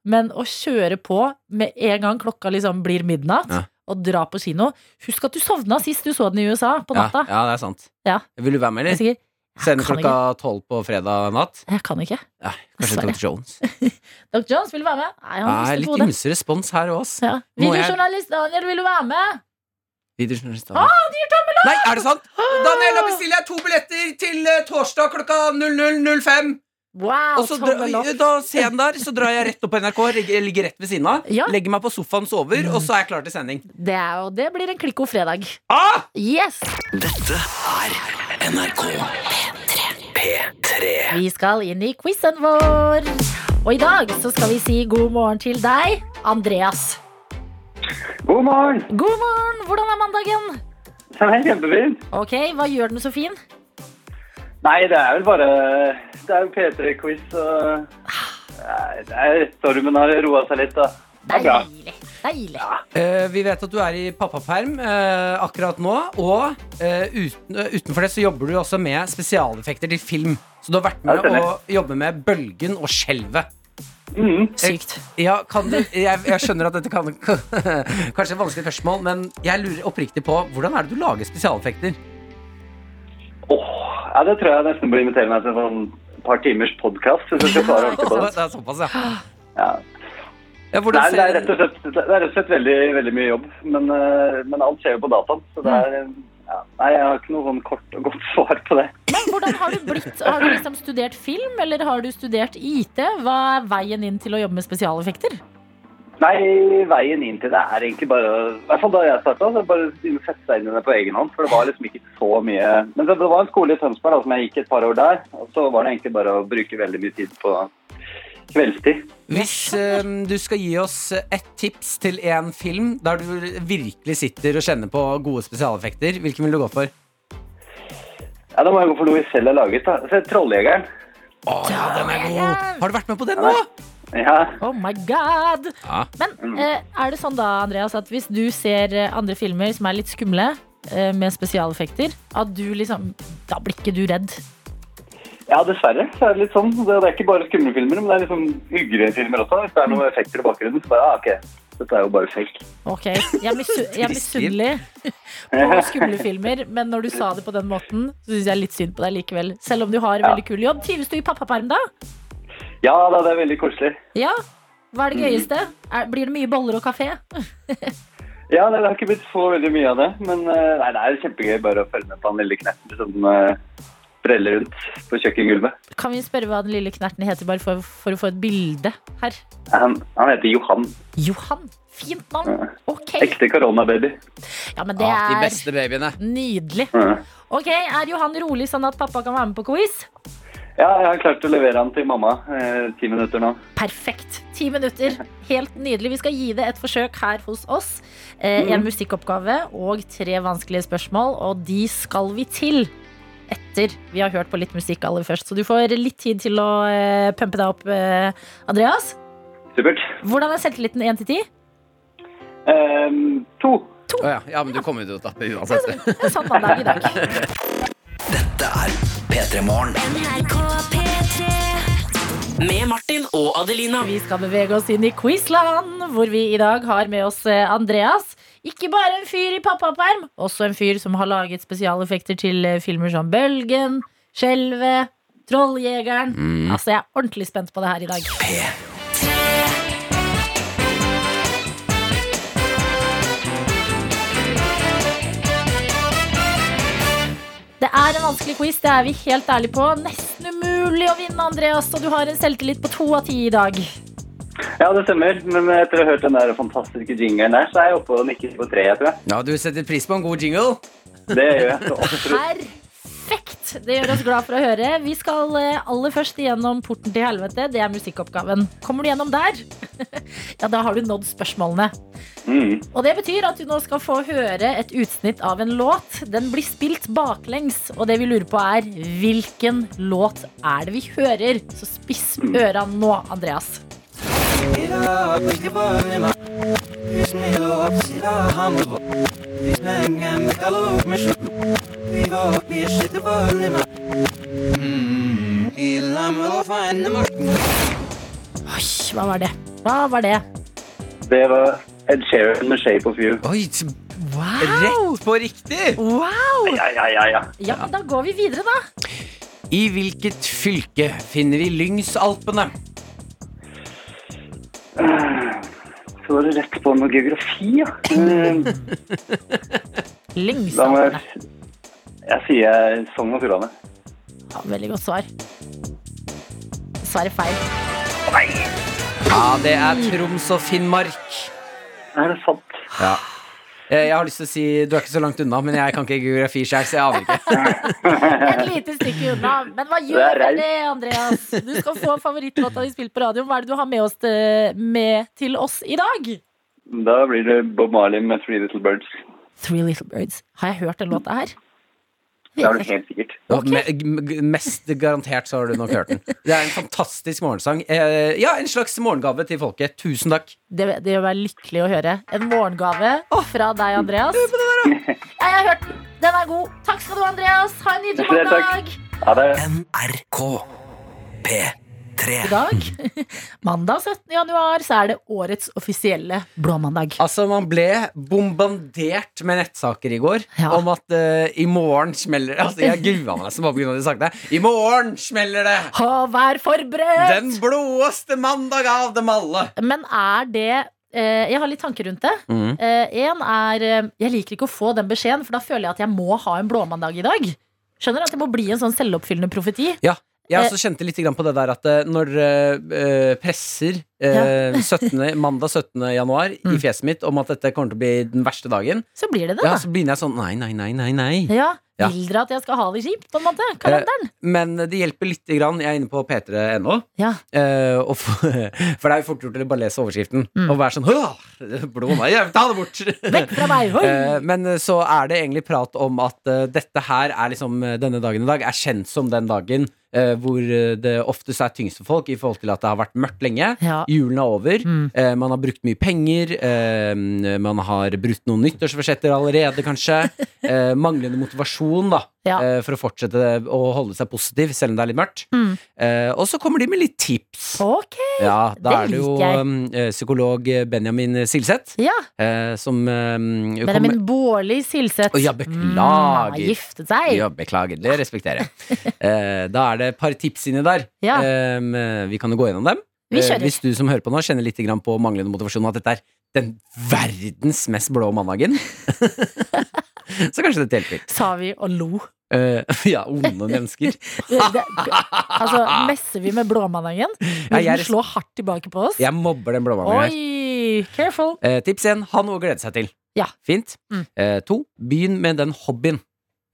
Men å kjøre på med en gang klokka liksom blir midnatt,
Ja.
og dra på kino Husk at du sovna sist du så den i USA, på
Ja,
natta.
ja, det er sant.
Ja.
Vil du være med,
Jeg, er
eller?
sikker,
Sende
kan
klokka tolv på fredag natt?
jeg kan ikke.
Ja, kanskje
Dessverre.
Dr. Jones.
Dr. Jones, vil du være med? Nei, han
Ja,
har lyst
litt
til å
ymse respons her òg, ass.
Ja.
Må jeg-
Videojournalist Daniel, vil du være med?
Videojournalist
Ah!
Daniel. Nei, er det sant? Daniel, da bestiller jeg to billetter til eh, torsdag klokka 00.05.
Wow,
Og så dra,
tommel opp.
da ser jeg den der, så drar jeg rett opp på NRK, ligger, ligger rett ved siden av,
Ja. Mm.
legger meg på sofaen, sover, og så er jeg klar til sending.
Det, er, og det blir en klikko fredag.
Ah!
Yes! Vi skal inn i quizen vår. Og i dag så skal vi si god morgen til deg, Andreas.
God morgen!
God morgen! Hvordan er mandagen?
Den er kjempefin.
Ok, Hva gjør den så fin?
Nei, det er vel bare Det er jo P3-quiz, og Nei, det er stormen har roa seg litt, da. Det er bra.
Deilig. Deilig.
Eh, vi vet at du er i pappaperm eh, akkurat nå, og eh, uten, utenfor det så jobber du også med spesialeffekter til film. Så du har vært
Ja,
med
det stemmer.
å jobbe med bølgen og skjelvet.
Mm.
Eh,
Sykt.
Ja, kan du, jeg, jeg skjønner at dette kan *laughs* Kanskje et vanskelig spørsmål, men jeg lurer oppriktig på hvordan er det du lager spesialeffekter?
Åh, ja, det tror jeg nesten bør invitere meg til en sånn par timers podkast. Hvis jeg skal svare ordentlig på
*laughs* Det
det.
er såpass, ja.
Ja.
ja
Nei,
hvordan
det er
ser,
rett og slett, det er rett og slett veldig, veldig mye jobb, men, eh, men alt skjer jo på dataen. Så det er ja. Nei, jeg har ikke noe sånn kort og godt svar på det.
Men hvordan har du blitt? Har du liksom studert film, eller har du studert IT? Hva er veien inn til å jobbe med spesialeffekter?
Nei, veien inn til det er egentlig bare I hvert fall da jeg starta, så bare begynne å sette seg inn i det på egen hånd. For det var liksom ikke så mye Men det var en skole i Tønsberg da, som jeg gikk et par år der. Og så var det egentlig bare å bruke veldig mye tid på kveldstid.
hvis eh, du skal gi oss et tips til en film der du virkelig sitter og kjenner på gode spesialeffekter, hvilken vil du gå for?
Ja, da må jeg gå for noe jeg selv har laget. da. Se, 'Trolljegeren'.
Å, ja, den er god! Har du vært med på den nå?
Ja.
Oh my god!
Ja.
Men eh, er det sånn da, Andreas, at hvis du ser eh, andre filmer som er litt skumle, eh, med spesialeffekter, at du liksom Da blir ikke du redd.
ja, dessverre. Så er det litt sånn. Det det er ikke bare skumle filmer, men det er liksom hyggelige filmer også. Hvis det er noen effekter i bakgrunnen, så bare ah, OK. Dette er jo bare fake.
Ok, Jeg er misu- jeg er misunnelig *laughs* på skumle filmer, men når du sa det på den måten, så syns jeg litt synd på deg likevel. Selv om du har en veldig kul jobb. Trives du i pappaperm da?
Ja da, det er veldig koselig.
Ja? Hva er det gøyeste? Er, blir det mye boller og kafé?
Ja, nei, det har ikke blitt så veldig mye av det. Men eh, nei, det er kjempegøy bare å følge med på han lille knerten som eh, breller rundt på kjøkkengulvet.
Kan vi spørre hva den lille knerten heter, bare for, for å få et bilde her?
Han, han heter Johan.
Johan. Fint navn. Ok.
Ekte koronababy.
Ja, men det
Ja, de
er
beste babyene.
nydelig.
Mm.
Ok, Er Johan rolig sånn at pappa kan være med på quiz?
Ja, jeg har klart å levere han til mamma eh, ti minutter nå.
Perfekt. Ti minutter. Helt nydelig. Vi skal gi det et forsøk her hos oss. Eh, en musikkoppgave og tre vanskelige spørsmål, og de skal vi til etter vi har hørt på litt musikk aller først. Så du får litt tid til å eh, pumpe deg opp, eh, Andreas.
Supert.
Hvordan er selvtilliten 1 til 10?
Ehm, to.
Å ja. ja, men du kommer jo til å tape uansett.
En sånn mandag i dag.
NRK P3 Med Martin og Adelina
Vi skal bevege oss inn i Quizland, hvor vi i dag har med oss eh, Andreas. Ikke bare en fyr i pappaperm, også en fyr som har laget spesialeffekter til eh, filmer som Bølgen, Skjelvet, Trolljegeren. Altså, jeg er ordentlig spent på det her i dag. Det er en vanskelig quiz, det er vi helt ærlige på. Nesten umulig å vinne, Andreas, og du har en selvtillit på to av ti i dag.
Ja, det stemmer. Men etter å ha hørt den der fantastiske jingeren der, så er jeg oppe og nikker på tre, jeg tror jeg.
Ja, du setter pris på en god jingle.
Det gjør jeg. Så absolutt.
Perfekt! Det gjør oss glad for å høre. Vi skal eh, aller først gjennom Porten til helvete. Det er musikkoppgaven. Kommer du gjennom der, *laughs* ja, da har du nådd spørsmålene.
Mm.
Og det betyr at du nå skal få høre et utsnitt av en låt. Den blir spilt baklengs, og det vi lurer på er hvilken låt er det vi hører? Så spiss øra nå, Andreas. Oi, hva var det? Hva var det?
Det var Ed Sheeran med 'Shape of You'.
Oi, t- Rett på riktig!
Wow!
Ja, ja, ja. ja.
Ja, men da går vi videre, da.
I hvilket fylke finner vi Lyngsalpene?
Så var det rett på noe geografi, ja. *laughs* Ehm, Da må
Lyngsalpene.
jeg Jeg sier Sogn og Fjordane.
Ja, veldig godt svar. Svaret feil.
Ja, det er Troms og Finnmark.
Er det sant?
Eh, Jeg har lyst til å si Du er ikke så langt unna, men jeg kan ikke geografi sjøl, så jeg aner ikke.
Et lite stykke unna. Men hva
Det er
gjør
raust.
det, Andreas? Du skal få favorittlåta di spilt på radioen. Hva er det du har med, oss til, med til oss i dag?
Da blir det Bob Marley med Three Little Birds.
Three Little Birds. Har jeg hørt den låta her?
Det har du helt sikkert.
Ja, me- g- Mest garantert så har du nok hørt den. Det er en fantastisk morgensang. Eh, ja, en slags morgengave til folket. Tusen takk.
Det, det gjør meg lykkelig å høre. En morgengave fra deg, Andreas. *laughs* Ja, jeg har hørt den. Den er god. Takk skal du ha, Andreas. Ha en nydelig
Tusen takk.
mandag.
Ha det.
NRK P3.
I dag, *laughs* mandag 17. januar, så er det årets offisielle blåmandag.
Altså, man ble bombardert med nettsaker i går
Ja.
om at eh, i morgen smeller det. Altså, jeg grua meg så bare på grunn av de sakene. I morgen smeller det!
Ha, vær forberedt!
Den blåeste mandag av dem alle!
Men er det eh, Jeg har litt tanker rundt det.
Mhm.
Eh, en er eh, Jeg liker ikke å få den beskjeden, for da føler jeg at jeg må ha en blåmandag i dag. Skjønner du at det må bli en sånn selvoppfyllende profeti?
Jeg også kjente litt grann på det der at eh, når eh, eh, presser eh, *laughs* 17., mandag 17. januar i
Mm.
fjeset mitt om at dette kommer til å bli den verste dagen,
Så blir det det,
ja,
da.
så begynner jeg sånn nei, nei, nei, nei, nei.
Ja,
Ja.
Vil dere at jeg skal ha det kjipt, på en måte? Kalenderen.
Men det hjelper lite grann. Jeg er inne på p3.no.
Ja.
Eh, og *laughs* for, for det er jo fort gjort å bare lese overskriften
Mm.
og være sånn «Åh, Blå meg, jeg vil ta det bort!
Vekk fra meg! Hoi!
Eh, men så er det egentlig prat om at eh, dette her er liksom eh, denne dagen i dag er kjent som den dagen eh, hvor eh, det oftest er tyngst for folk i forhold til at det har vært mørkt lenge.
Ja.
Julen er over.
Mm.
Eh, man har brukt mye penger. Eh, man har brutt noen nyttårsforsetter allerede, kanskje.
*laughs*
Eh, manglende motivasjon da
Ja.
eh, for å fortsette å holde seg positiv, selv om det er litt mørkt.
Mm.
Eh, og så kommer de med litt tips.
Ok.
Ja, da
det
er det jo
liker jeg.
um, eh, psykolog Benjamin Silseth
Ja.
eh, som um,
Men det er min Bårli Silseth.
Å, ja, beklager.
Mm, har giftet seg.
Ja, beklager, det respekterer jeg.
*laughs*
Eh, da er det et par tips inni der.
Ja.
Em, eh, vi kan jo gå gjennom dem.
Vi kjører.
Eh, hvis du som hører på nå kjenner litt grann på manglende motivasjon, og at dette er den verdens mest blå
*laughs*
mandagen, *laughs* så kanskje dette hjelper.
Sa vi og lo.
Eh, *laughs* ja, onde mennesker.
Det, det, altså, messer vi med blåmandagen?
Ja,
Vil
jeg
den
er-
slå hardt tilbake på oss?
Jeg mobber den blå mandagen her.
Oi! Careful.
Eh, tips én, ha noe å glede seg til.
Ja.
Fint.
Mm.
Eh, to, begynn med den hobbyen.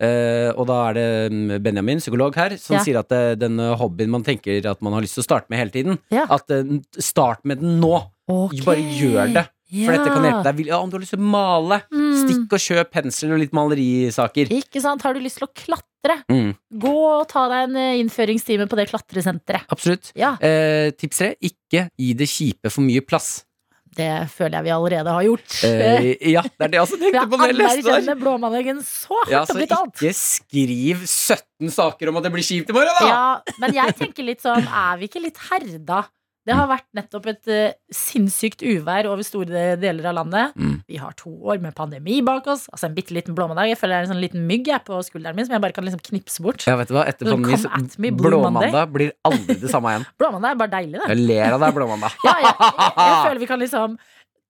Eh, og da er det mm, Benjamin, psykolog her, som
Ja.
sier at eh, den eh, hobbyen man tenker at man har lyst til å starte med hele tiden,
Ja.
at eh, start med den nå.
Ok.
Bare gjør det. For dette kan hjelpe
Ja.
deg. vil- Ja, om du har lyst til å male,
Mm.
stikk og kjøp pensel og litt malerisaker.
Ikke sant? Har du lyst til å klatre?
Mm,
Gå og ta deg en eh, innføringstime på det klatresenteret.
absolutt.
Ja,
Eh, tips tre, ikke gi det kjipe for mye plass.
det føler jeg vi allerede har gjort. *laughs*
Eh, ja, det er det jeg også
Vi
tenkte på. når jeg leste der.
anerkjenner blåmandagen så hardt
Ja,
og
så
blitt alt.
ikke skriv 17 saker om at det blir kjipt i morgen, da!
Ja, men jeg tenker litt sånn, er vi ikke litt herda? Det har vært nettopp et eh, sinnssykt uvær over store deler av landet.
Mm.
Vi har to år med pandemi bak oss. Altså en bitte liten blåmandag. Jeg føler det er en sånn liten mygg jeg på skulderen min som jeg bare kan liksom knipse bort.
Ja, vet du hva? Etter
Come
pandemi så-
at me, Blue Monday.
Blåmandag blir aldri det samme igjen.
Blåmandag er bare deilig, det.
Jeg ler av deg, Blåmandag.
Ja, jeg, jeg,
*laughs*
jeg føler vi kan liksom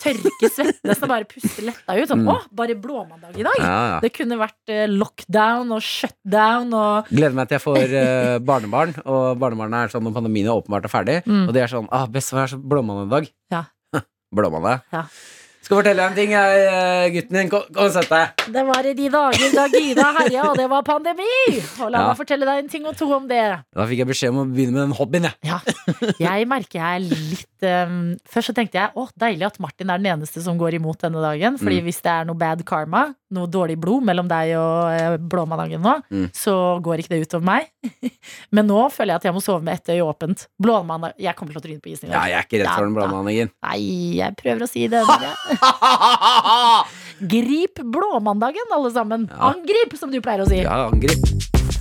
tørke svettnesten og bare puste letta ut. Sånn,
Mm.
Å, bare blåmandag i dag!
Ja, ja.
Det kunne vært eh, lockdown og shutdown og
Gleder meg til jeg får eh, barnebarn, og barnebarna er sånn når pandemien er åpenbart er ferdig,
Mm.
og de er sånn ah, 'Bestefar er så blåmandag i dag'.
Ja.
*laughs* Blåmandag.
Ja.
Skal fortelle deg en ting, jeg, eh, gutten din. Kom, kom og sett deg.
Det var i de dager da Gina herja, og det var pandemi! Og la
Ja.
meg fortelle deg en ting og to om det.
Da fikk jeg beskjed om å begynne med den hobbyen, jeg.
Ja, jeg merker jeg er litt eh, Først så tenkte jeg å, deilig at Martin er den eneste som går imot denne dagen. Fordi
Mm.
hvis det er noe bad karma, noe dårlig blod mellom deg og eh, blåmandagen nå,
Mm.
så går ikke det utover meg. *laughs* Men nå føler jeg at jeg må sove med ett øye åpent. Blåmandag Jeg kommer til å tryne på isen i
Ja,
dag.
jeg er ikke redd for den
Ja, da.
blåmandagen.
Nei, jeg prøver å si det. Men jeg.
*laughs*
Grip blåmandagen, alle sammen.
Ja.
Angrip, som du pleier å si.
Ja, angrip.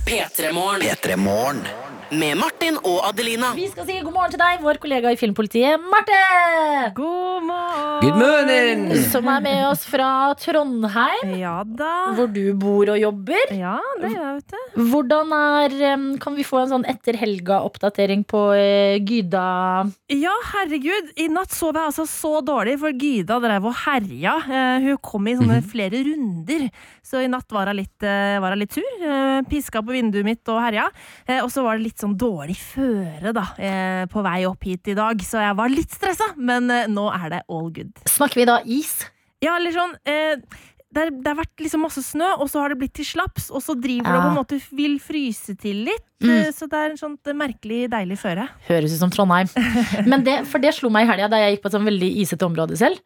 P3morgen. Med Martin og Adelina.
Vi skal si god morgen til deg, vår kollega i Filmpolitiet, Marte!
God morgen!
Good morning!
Som er med oss fra Trondheim,
Ja da.
hvor du bor og jobber.
Ja, det gjør jeg, vet du.
Hvordan er em, Kan vi få en sånn etter helga-oppdatering på eh, Gyda?
Ja, herregud. I natt sov jeg altså så dårlig, for Gyda drev og herja. Eh, hun kom i sånne flere runder, så i natt var hun litt, eh, var hun litt sur. Eh, piska på vinduet mitt og herja. Eh, og så var det litt sånn dårlig føre, da, eh, på vei opp hit i dag, så jeg var litt stressa, men eh, nå er det all good.
Snakker vi da is?
Ja, eller sånn eh, det, er, det har vært liksom masse snø, og så har det blitt til slaps, og så driver
Ja.
det på en måte vil fryse til litt.
Mm.
eh, Så det er en sånn eh, merkelig deilig føre.
Høres ut som Trondheim. Men det, for det slo meg i helga da jeg gikk på et sånn veldig isete område selv.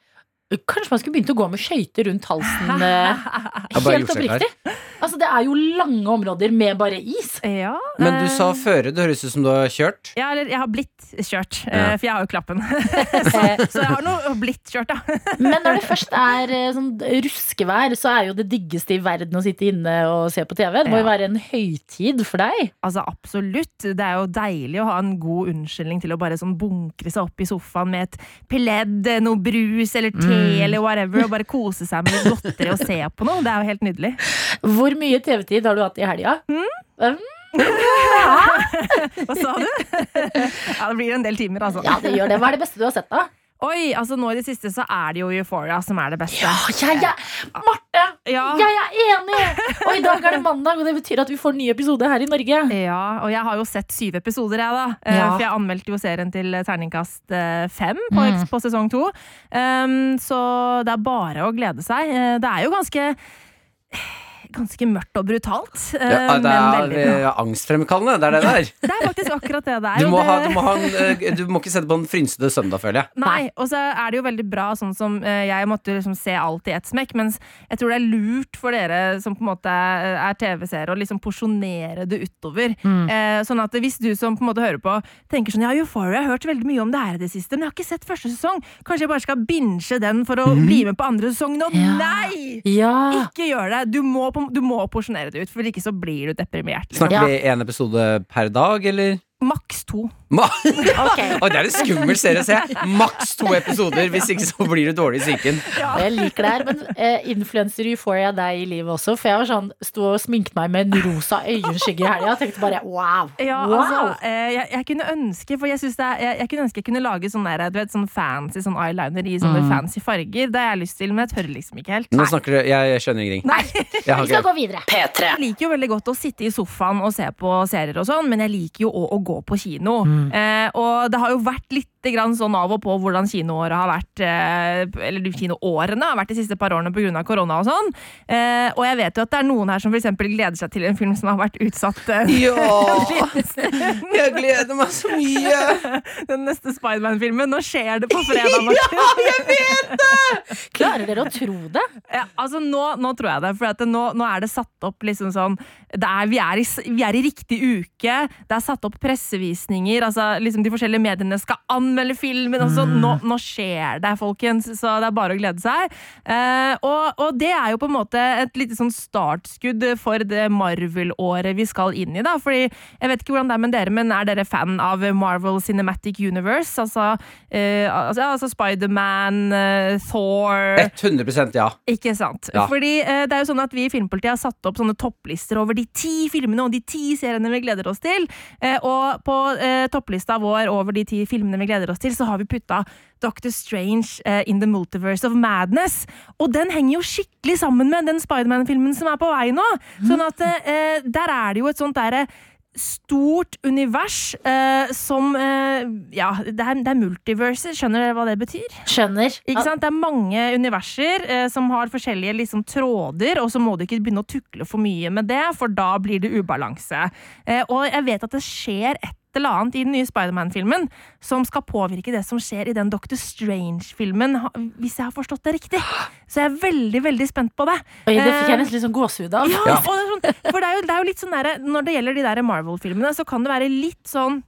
Kanskje man skulle begynt å gå med skøyter rundt halsen? eh,
Jeg har bare
Helt
gjort seg klar.
oppriktig. Altså, det er jo lange områder med bare is.
Ja,
Men du
eh,
sa føre. Det høres ut som du har kjørt.
ja, eller jeg har blitt kjørt,
Ja.
eh, for jeg har jo klappen. *laughs* så, så jeg har nå blitt kjørt, da. *laughs*
Men når det først er eh, sånn ruskevær, så er jo det diggeste i verden å sitte inne og se på TV. Det må jo
Ja.
være en høytid for deg.
Altså Absolutt. Det er jo deilig å ha en god unnskyldning til å bare sånn bunkre seg opp i sofaen med et pledd, eh, noe brus eller te
Mm.
eller whatever, og bare kose seg med litt godteri og se på noe. Det er jo helt nydelig.
Hvor mye TV-tid har du hatt i helga? Mm.
Hva sa du? *laughs* ja, det blir en del timer, altså.
Ja, det gjør det. Hva er det beste du har sett, da?
Oi, altså nå i det siste så er det jo Euphoria som er det beste.
Ja, jeg, jeg, Marte!
Ja.
Jeg er enig! Og i dag er det mandag, og det betyr at vi får en ny episode her i Norge.
Ja, og jeg har jo sett syv episoder, jeg, da. Eh,
Ja.
For jeg anmeldte jo serien til terningkast eh, fem på, på sesong to. Um, så det er bare å glede seg. Eh, Det er jo ganske Ganske mørkt og brutalt, eh,
Ja, det
men
er
veldig bra.
eh, angstfremkallende. Det er det der.
*laughs* Det er faktisk akkurat det det er.
Du
og
må,
det-
ha, du, må ha en, eh, du må ikke sette på en frynsete søndag, føler jeg.
Nei, og så er det jo veldig bra sånn som eh, jeg måtte liksom se alt i ett smekk, mens jeg tror det er lurt for dere som på en måte eh, er TV-seere, å liksom porsjonere det utover.
Mm.
Eh, sånn at hvis du som på en måte hører på, tenker sånn ja, Euphoria, jeg har hørt veldig mye om det her i det siste, men jeg har ikke sett første sesong. Kanskje jeg bare skal binge den for å bli med på andre sesong nå?
Mm. Ja.
Nei!
Ja.
Ikke gjør det! Du må, på- du må porsjonere det ut, for ikke så blir du deprimert. Liksom.
Snakker
Ja.
vi én episode per dag, eller?
Maks to.
Ma *laughs* Oi, det er en skummel serie å se. Maks to episoder, hvis ikke så blir du dårlig i psyken.
Jeg liker det her, men eh, influenser euphoria deg i livet også. For jeg var sånn, sto og sminket meg med en rosa øyenskygge i helga og tenkte bare wow.
Ja,
wow.
altså, eh, jeg, jeg kunne ønske For jeg, synes det er, jeg, jeg kunne ønske jeg kunne lage sånn der, du vet, sånn fancy sånn eyeliner i sånne fancy farger. Det har jeg lyst til, men jeg tør liksom ikke helt.
Nå snakker du Jeg, jeg skjønner ingenting.
Nei,
Jeg har
Vi skal
ikke
gå videre.
P3.
Jeg liker jo veldig godt å sitte i sofaen og se på serier, og sånn men jeg liker jo òg å gå på kino. Eh, og det har jo vært litt grann sånn av og på hvordan kinoåret har vært eh, Eller kinoårene har vært de siste par årene pga. korona og sånn. Eh, og jeg vet jo at det er noen her som for eksempel gleder seg til en film som har vært utsatt
*laughs*
eh, *laughs*
Ja! Jeg gleder meg så mye!
*laughs* den neste Spiderman-filmen. Nå skjer det på
*laughs*
fredag. Martin.
Klarer dere å tro det?
Ja, altså nå, nå tror jeg det, for at det- nå, nå er det satt opp liksom sånn det er, vi, er i, s- vi er i riktig uke, det er satt opp pressevisninger, altså liksom de forskjellige mediene skal anmelde filmen, og sånn. nå, nå skjer det, folkens, så det er bare å glede seg. Eh, og, og det er jo på en måte et lite sånn startskudd for det Marvel-året vi skal inn i, da, fordi jeg vet ikke hvordan det er med dere, men er dere fan av Marvel Cinematic Universe? Altså, eh, altså, ja, altså Spiderman, eh, Thor
100 ja.
ikke sant.
Ja.
Fordi eh, det er jo sånn at Vi i Filmpolitiet har satt opp sånne topplister over de ti filmene og de ti seriene vi gleder oss til. Eh, og på eh, topplista vår over de ti filmene vi gleder oss til, så har vi putta Doctor Strange eh, in the Multiverse of Madness. Og den henger jo skikkelig sammen med den Spiderman-filmen som er på vei nå. Sånn at eh, der er det jo et sånt derre Stort univers eh, som eh, Ja, det er, det er multiverser. Skjønner dere hva det betyr?
Skjønner.
Ikke sant? Det er mange universer eh, som har forskjellige liksom, tråder, og så må du ikke begynne å tukle for mye med det, for da blir det ubalanse. Eh, og jeg vet at det skjer et eller annet i den nye Spiderman-filmen som skal påvirke det som skjer i den Doctor Strange-filmen, ha- hvis jeg har forstått det riktig. Så jeg er veldig, veldig spent på det.
Oi, det fikk
Eh,
jeg nesten litt sånn gåsehud av.
ja, Og det er sånn, for det er, jo, det er jo litt sånn der, Når det gjelder de der Marvel-filmene, så kan det være litt sånn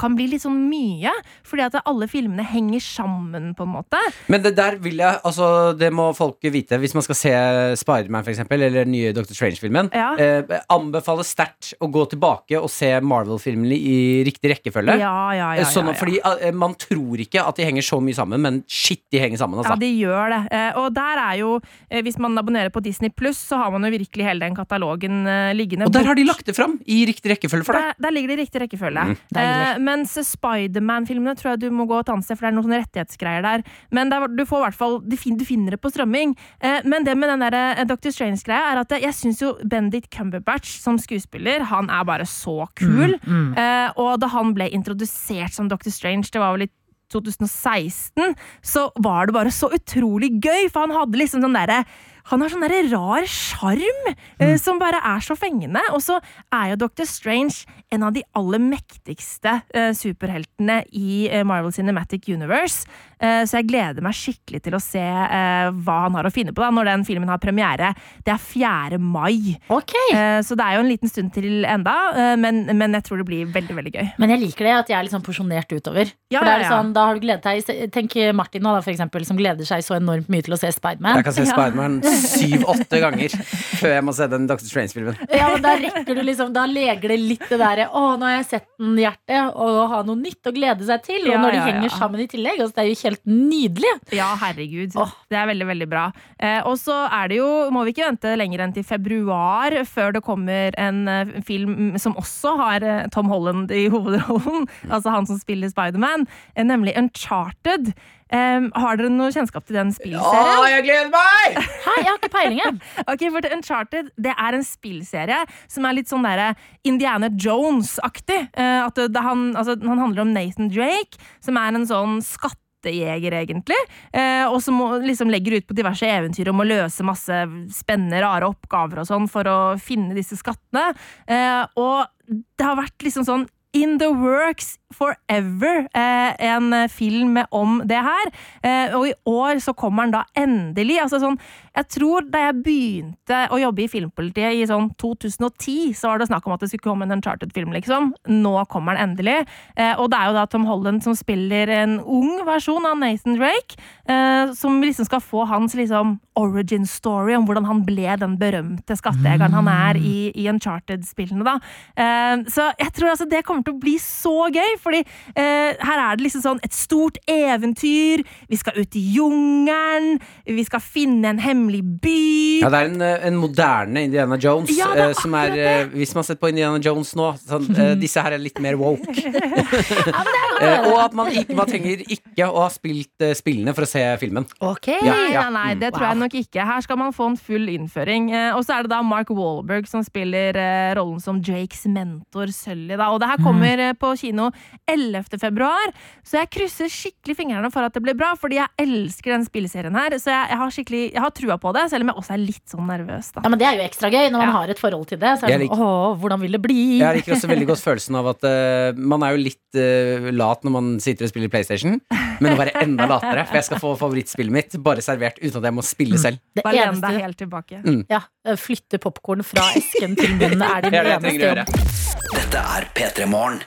kan bli litt sånn mye, fordi at alle filmene henger sammen, på en måte.
Men det der vil jeg Altså, det må folk vite hvis man skal se Spiderman, f.eks., eller den nye Dr. Strange-filmen.
Ja.
Eh, anbefaler sterkt å gå tilbake og se Marvel-filmene i riktig rekkefølge.
Ja, ja, ja,
Sånn,
ja,
at-
ja.
Fordi eh, Man tror ikke at de henger så mye sammen, men shit, de henger sammen.
Ja,
Altså.
de gjør det. Eh, Og der er jo, eh, hvis man abonnerer på Disney Pluss, så har man jo virkelig hele den katalogen eh, liggende.
og der har de lagt Mm, det fram i riktig rekkefølge for deg.
der, der ligger det i riktig rekkefølge.
Deilig.
Eh, mens Spiderman-filmene tror jeg du må gå og ta en sted, for det er noen sånne rettighetsgreier der. Men der, du får i hvert fall du, fin, du finner det på strømming. Eh, men det med den der, eh, Dr. Strange-greia er at eh, jeg syns jo Bendik Cumberbatch som skuespiller, han er bare så kul.
Mm,
Eh, og da han ble introdusert som Dr. Strange, det var vel i 2016, så var det bare så utrolig gøy, for han hadde liksom sånn derre Han har sånn derre rar sjarm eh, som bare er så fengende. Og så er jo Dr. Strange en av de aller mektigste eh, superheltene i eh, Marvel Cinematic Universe. Eh, så jeg gleder meg skikkelig til å se eh, hva han har å finne på da, når den filmen har premiere. Det er 4. mai.
Ok
Eh, så det er jo en liten stund til enda, eh, men, men jeg tror det blir veldig, veldig gøy.
Men jeg liker det at jeg er litt sånn porsjonert utover.
Ja,
for da, er det
ja, ja.
sånn, da har du gledet deg i- Tenk Martin nå, da, for eksempel, som gleder seg så enormt mye til å se Spiderman.
Jeg kan se Spiderman syv-åtte ganger før jeg må se den Dr. Strange-filmen.
Ja, men da rekker du liksom Da leger det litt det derre Å, nå har jeg sett den hjertet, og ha noe nytt å glede seg til. Og
Ja,
når de
ja, ja.
henger sammen i tillegg. Altså, det er jo helt nydelig.
Ja, herregud. Det er veldig, veldig bra. Eh, og så er det jo, må vi ikke vente lenger enn til februar før det kommer en eh, film som også har eh, Tom Holland i *laughs* hovedrollen, altså han som spiller Spiderman, eh, nemlig Uncharted. Eh, har dere noe kjennskap til den spillserien?
jeg gleder meg!
Hæ, jeg har ikke peiling, jeg.
Ok, for The Uncharted det er en spillserie som er litt sånn derre Indiana Jones-aktig. Eh, at det, det han, altså, han handler om Nathan Drake, som er en sånn skattejeger, egentlig. Eh, og som må- liksom legger ut på diverse eventyr om å løse masse spennende, rare oppgaver og sånn for å finne disse skattene. Eh, og det har vært liksom sånn In the Works Forever, eh, en eh, film om det her. Eh, og i år så kommer den da endelig. Altså sånn, jeg tror da jeg begynte å jobbe i Filmpolitiet i sånn 2010, så var det snakk om at det skulle komme en Uncharted-film, liksom. Nå kommer den endelig. Eh, og det er jo da Tom Holland som spiller en ung versjon av Nathan Drake, eh, som liksom skal få hans liksom origin story om hvordan han ble den berømte skattejegeren han er i, i Uncharted-spillene, da. Eh, så jeg tror altså det kommer til å bli så gøy, fordi eh, her er det liksom sånn et stort eventyr, vi skal ut i jungelen, vi skal finne en hemmelig by.
Ja, det er en, eh, en moderne Indiana Jones.
Ja, det Mm. er
eh, som er, eh, hvis man har sett på Indiana Jones nå, sånn, eh, disse her er litt mer
*laughs*
woke. Eh, og at man, ikke, man trenger ikke å ha spilt eh, spillene for å se filmen.
Ok
Ja, ja.
Nei, nei, nei,
Mm.
det tror jeg nok ikke. Her skal man få en full innføring. Eh, og så er det da Mark Wahlberg som spiller eh, rollen som Jakes mentor, Sully. Da. Og det her
Mm.
kommer eh, på kino 11. februar, så jeg krysser skikkelig fingrene for at det blir bra, fordi jeg elsker den spillserien her. Så jeg, jeg, har skikkelig, jeg har trua på det, selv om jeg også er litt sånn nervøs, da.
Ja, men Det er jo ekstra gøy når man
Ja.
har et forhold til det. Så er det
Jeg
sånn, Åh, hvordan vil det bli?
Jeg liker også veldig godt følelsen av at eh, man er jo litt eh, lat når man sitter og spiller PlayStation, men å være enda latere, for jeg skal få favorittspillet mitt bare servert uten at jeg må spille selv.
Det
Bare len
eneste
deg helt tilbake.
ja, Flytte popkorn fra esken til munnen er din
Det er det jeg
eneste
trenger å
jobb.
gjøre.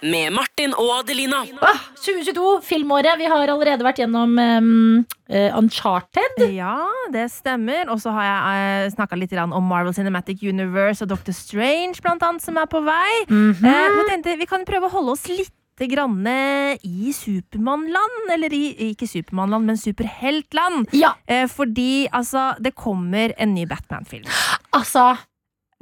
Med Martin og Adelina.
Ah, 2022, filmåret. Vi har allerede vært gjennom em, eh, Uncharted.
Ja, det stemmer. Og så har jeg eh, snakka litt grann om Marvel Cinematic Universe og Doctor Strange, blant annet, som er på vei. Eh, men jeg tenkte, vi kan prøve å holde oss litt grann eh, i Supermannland. Eller i, ikke Supermannland, men Superheltland.
Ja,
Eh, fordi altså, det kommer en ny Batman-film.
altså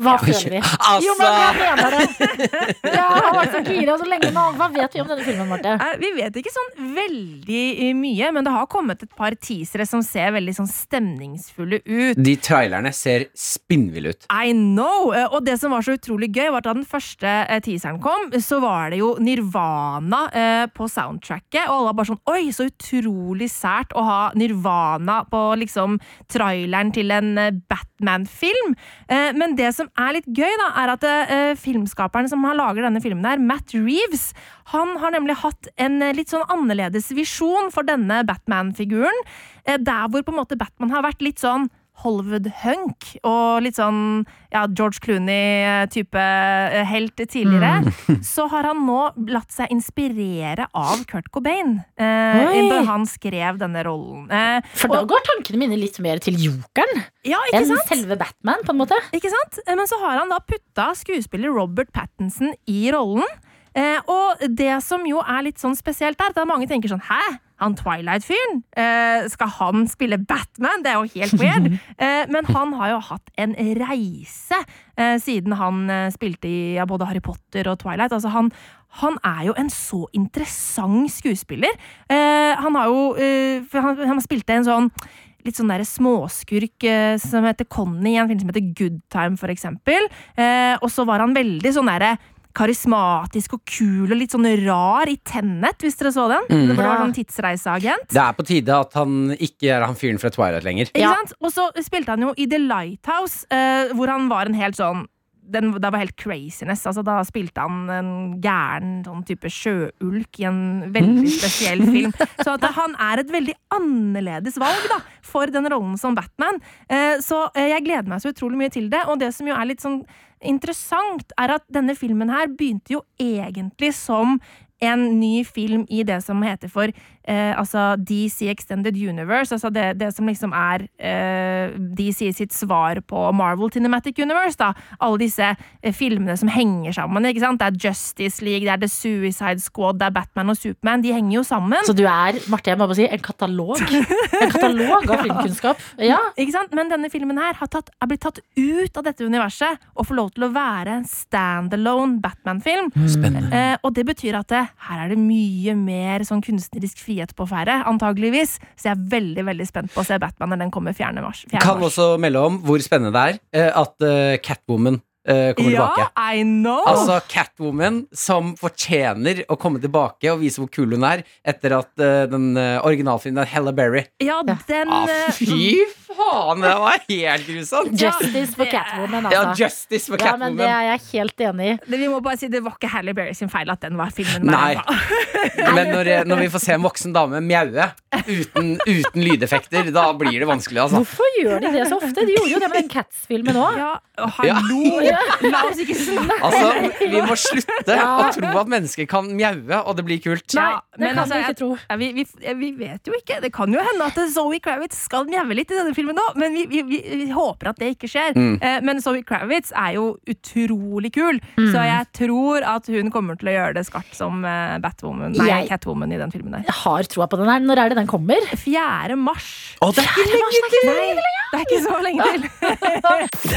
Hva føler vi? Jo, men jeg mener det.
*laughs*
Ja, jeg har vært så gira så lenge nå. Hva vet vi om denne filmen, Marte?
Eh, Vi vet ikke sånn veldig eh, mye, men det har kommet et par teasere som ser veldig sånn stemningsfulle ut.
De trailerne ser spinnville ut.
I know! Eh, Og det som var så utrolig gøy, var at da den første eh, teaseren kom, så var det jo Nirvana eh, på soundtracket, og alle var bare sånn Oi, så utrolig sært å ha Nirvana på liksom traileren til en eh, Batman-film. Eh, Men det som er litt gøy, da, er at eh, filmskaperen som har lager denne filmen her, Matt Reeves, han har nemlig hatt en eh, litt sånn annerledes visjon for denne Batman-figuren, eh, der hvor på en måte Batman har vært litt sånn Hollywood Hunk og litt sånn ja, George Clooney-type eh, helt tidligere, så har han nå latt seg inspirere av Kurt Cobain eh,
Oi.
da han skrev denne rollen. Eh,
For da
og-
går tankene mine litt mer til jokeren
ja, ikke
enn
sant?
selve Batman, på en måte.
Ikke sant? Eh, Men så har han da putta skuespiller Robert Pattinson i rollen. Eh, og det som jo er litt sånn spesielt der, at mange tenker sånn Hæ? Han Twilight-fyren? Eh, skal han spille Batman? Det er jo helt weird. Eh, men han har jo hatt en reise eh, siden han eh, spilte i ja, både Harry Potter og Twilight. Altså han, han er jo en så interessant skuespiller. Eh, han har jo eh, for han, han spilte en sånn litt sånn der småskurk eh, som heter Conny i en film som heter Good Time, for eksempel. Eh, og så var han veldig sånn derre karismatisk og kul og litt sånn rar i Tennet, hvis dere så den.
Mm.
Det var
Ja.
sånn tidsreiseagent.
Det er på tide at han ikke er han fyren fra Twilight lenger.
Ikke
Ja.
sant? Og så spilte han jo i The Lighthouse, eh, hvor han var en helt sånn den, det var helt craziness. Altså, da spilte han en gæren sånn type sjøulk i en veldig spesiell film. Så at han er et veldig annerledes valg da, for den rollen som Batman. Eh, så eh, jeg gleder meg så utrolig mye til det. Og det som jo er litt sånn interessant, er at denne filmen her begynte jo egentlig som en ny film i det som heter for eh, altså DC Extended Universe. Altså det, det som liksom er eh, DC sitt svar på Marvel Cinematic Universe. da. Alle disse eh, filmene som henger sammen. ikke sant? Det er Justice League, det er The Suicide Squad, det er Batman og Superman. De henger jo sammen.
Så du er Marte, jeg må bare si, en
*laughs*
katalog. En katalog av filmkunnskap. Ja.
Ikke sant? Men denne filmen her har tatt, er blitt tatt ut av dette universet og får lov til å være en standalone Batman-film.
Mm.
Eh, og det betyr at det, her er det mye mer sånn kunstnerisk frihet på ferde, antageligvis. Så jeg er veldig veldig spent på å se Batman når den kommer 4. mars. 4.
Kan
mars.
også melde om hvor spennende det er eh, at eh, Catwoman eh, kommer
ja,
tilbake.
I know!
Altså Catwoman som fortjener å komme tilbake og vise hvor kul hun er etter at eh, den eh, originalfilmen er Hella Berry.
ja, den
Ah,
eh,
fy faen, det var helt grusomt!
Ja,
Justice for
det-
Catwoman,
Ja,
altså.
justice for
Ja, men
Catwoman.
det er jeg helt enig i.
det, Vi må bare si det var ikke Halle Berry sin feil at den var filmen.
Nei.
Der.
Men når, eh, når vi får se en voksen dame mjaue uten, uten lydeffekter, da blir det vanskelig, altså.
Hvorfor gjør de det så ofte? De gjorde jo det med den Cats-filmen òg.
Ja, å, hallo!
Ja.
La oss ikke snakke
Altså, Vi må slutte å tro at mennesker kan mjaue, og det blir kult.
Nei,
Nei, det
men
kan
altså,
vi ikke
jeg-
tro.
Ja, vi, vi, vi vet jo ikke. Det kan jo hende at Zoe Kravitz skal mjaue litt i denne filmen òg, men vi, vi, vi, vi håper at det ikke skjer.
Mm.
Eh, men Zoe Kravitz er jo utrolig kul, så jeg tror at hun kommer til å gjøre det skarpt som eh, Batwoman, nei,
Jeg-
Catwoman i den filmen der.
Jeg har troa på den her. Når er det den kommer?
4. mars.
Å, det er ikke lenge til!
Nei, det er ikke så lenge til.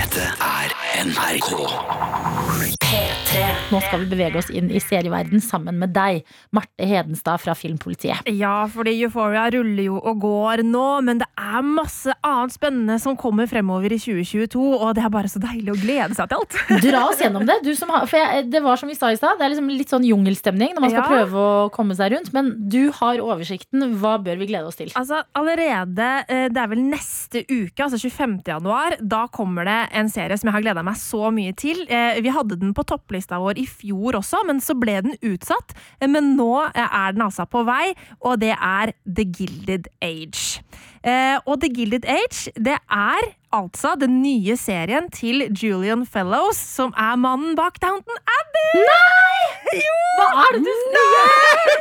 Nå skal vi bevege oss inn i serieverden sammen med deg, Marte Hedenstad fra Filmpolitiet.
Ja, fordi Euphoria ruller jo og går nå, men det er masse annet spennende som kommer fremover i 2022, og det er bare så deilig å glede seg til alt.
Dra oss gjennom det. Du som har, for jeg, det var som vi sa i stad, det er liksom litt sånn jungelstemning når man skal
Ja.
prøve å komme seg rundt. Men du har oversikten. Hva bør vi glede oss til?
Altså, allerede, eh, det er vel neste uke, altså 25. januar, da kommer det en serie som jeg har gleda meg så mye til. Eh, Vi hadde den på topplista vår i fjor også, men så ble den utsatt. Eh, Men nå eh, er den altså på vei, og det er The Gilded Age. Eh, Og The Gilded Age, det er altså den nye serien til Julian Fellows, som er mannen bak Downton Abbey! Nei! Jo!
Hva er det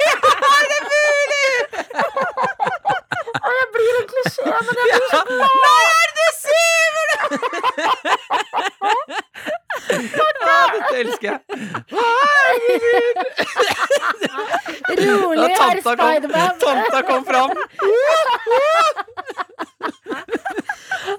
du
Ja, dette elsker jeg.
Rolig,
Ja,
herr
tanta, kom,
Spiderman.
tanta kom fram.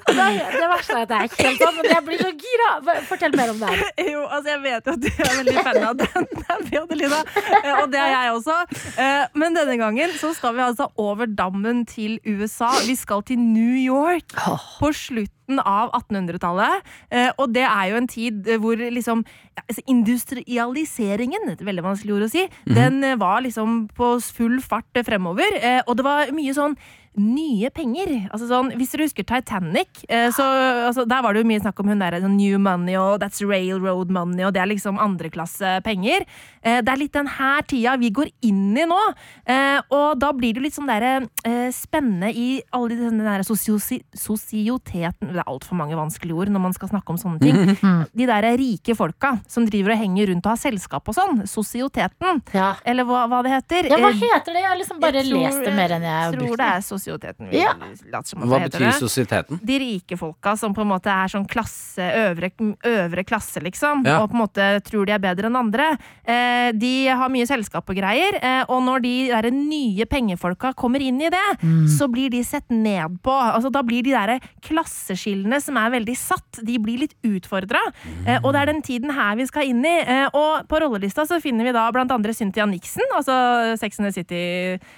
Det er- det verste er at det er ikke helt sånn, men jeg blir så gira. Fortell mer om det her.
*laughs* Jo, altså jeg vet jo at du er veldig fan av den, *laughs* Abby Adelina, eh, og det er jeg også. Eh, Men denne gangen så skal vi altså over dammen til USA. Vi skal til New York på slutten av 1800-tallet. Eh, Og det er jo en tid eh, hvor liksom ja, altså industrialiseringen, et veldig vanskelig ord å si, den eh, var liksom på full fart eh, fremover. Eh, Og det var mye sånn nye penger. Altså sånn, hvis dere husker Titanic, eh, så altså, der var det jo mye snakk om hun der, sånn new money og that's railroad money, og det er liksom andreklasse penger. Eh, det er litt den her tida vi går inn i nå, eh, og da blir det jo litt sånn der, eh, spennende i alle de- den der sosiosi- sosioteten Det er altfor mange vanskelige ord når man skal snakke om sånne ting.
*laughs*
De der rike folka som driver og henger rundt og har selskap og sånn. Sosioteten,
Ja.
eller hva, hva det heter.
Ja, hva
Eh,
heter det? Jeg har liksom bare
jeg tror-
lest det mer enn jeg har
tror
brukt
det er sosioteten vi
Ja.
later som at
Hva
det heter
betyr
det.
sosieteten?
De rike folka som på en måte er sånn klasse, øvre, øvre klasse, liksom,
Ja.
og på en måte tror de er bedre enn andre, eh, de har mye selskap og greier, eh, og når de der nye pengefolka kommer inn i det,
Mm.
så blir de sett ned på. Altså, da blir de der klasseskillene som er veldig satt, de blir litt utfordra. Eh, og det er den tiden her vi skal inn i. Eh, og på rollelista så finner vi da blant andre Cynthia Nixon, altså Sex and the City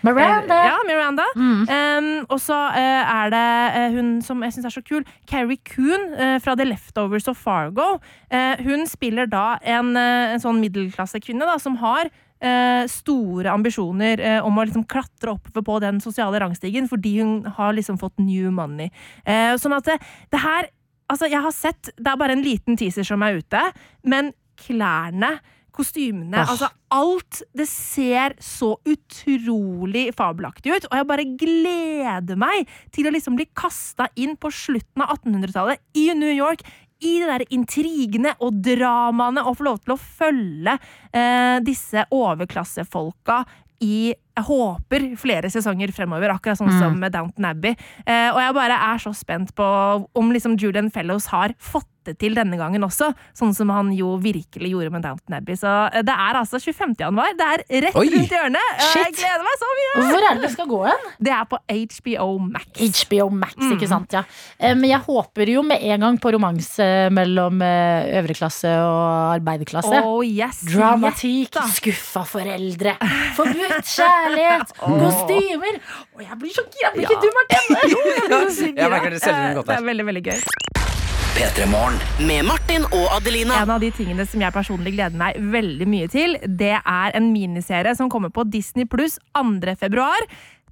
Miranda.
ja, Miranda. Eh, Um, og så eh, er det eh, hun som jeg syns er så kul, Carrie Coon eh, fra The Leftovers og Fargo. Eh, hun spiller da en, eh, en sånn middelklassekvinne da, som har eh, store ambisjoner eh, om å liksom klatre oppover på den sosiale rangstigen fordi hun har liksom fått new money. Eh, sånn at det, det her Altså, jeg har sett Det er bare en liten teaser som er ute, men klærne Kostymene,
Ah.
altså alt Det ser så utrolig fabelaktig ut, og jeg bare gleder meg til å liksom bli kasta inn på slutten av 1800-tallet i New York. I de der intrigene og dramaene, og få lov til å følge eh, disse overklassefolka i jeg håper flere sesonger fremover, akkurat sånn som med Downton Abbey. Eh, og jeg bare er så spent på om liksom Julian Fellows har fått det til denne gangen også, sånn som han jo virkelig gjorde med Downton Abbey. Så eh, det er altså 25. januar. Det er rett
Oi!
rundt hjørnet. og Jeg
Shit!
gleder meg så mye!
Hvor er det det skal gå hen?
Det er på HBO Max.
HBO Max, ikke sant, ja. Eh, Men jeg håper jo med en gang på romanse mellom eh, øvre klasse og arbeiderklasse.
Oh yes!
Dramatikk,
Gjett, da.
skuffa foreldre, forbudt *laughs* kjærlighet, kostymer. Og jeg blir sjokkert! Blir ikke du, *laughs* Martine?
Jeg merker det selger hun godt
Det
her.
er veldig, veldig gøy.
Med Martin og Adelina.
En av de tingene som jeg personlig gleder meg veldig mye til, det er en miniserie som kommer på Disney pluss 2. februar.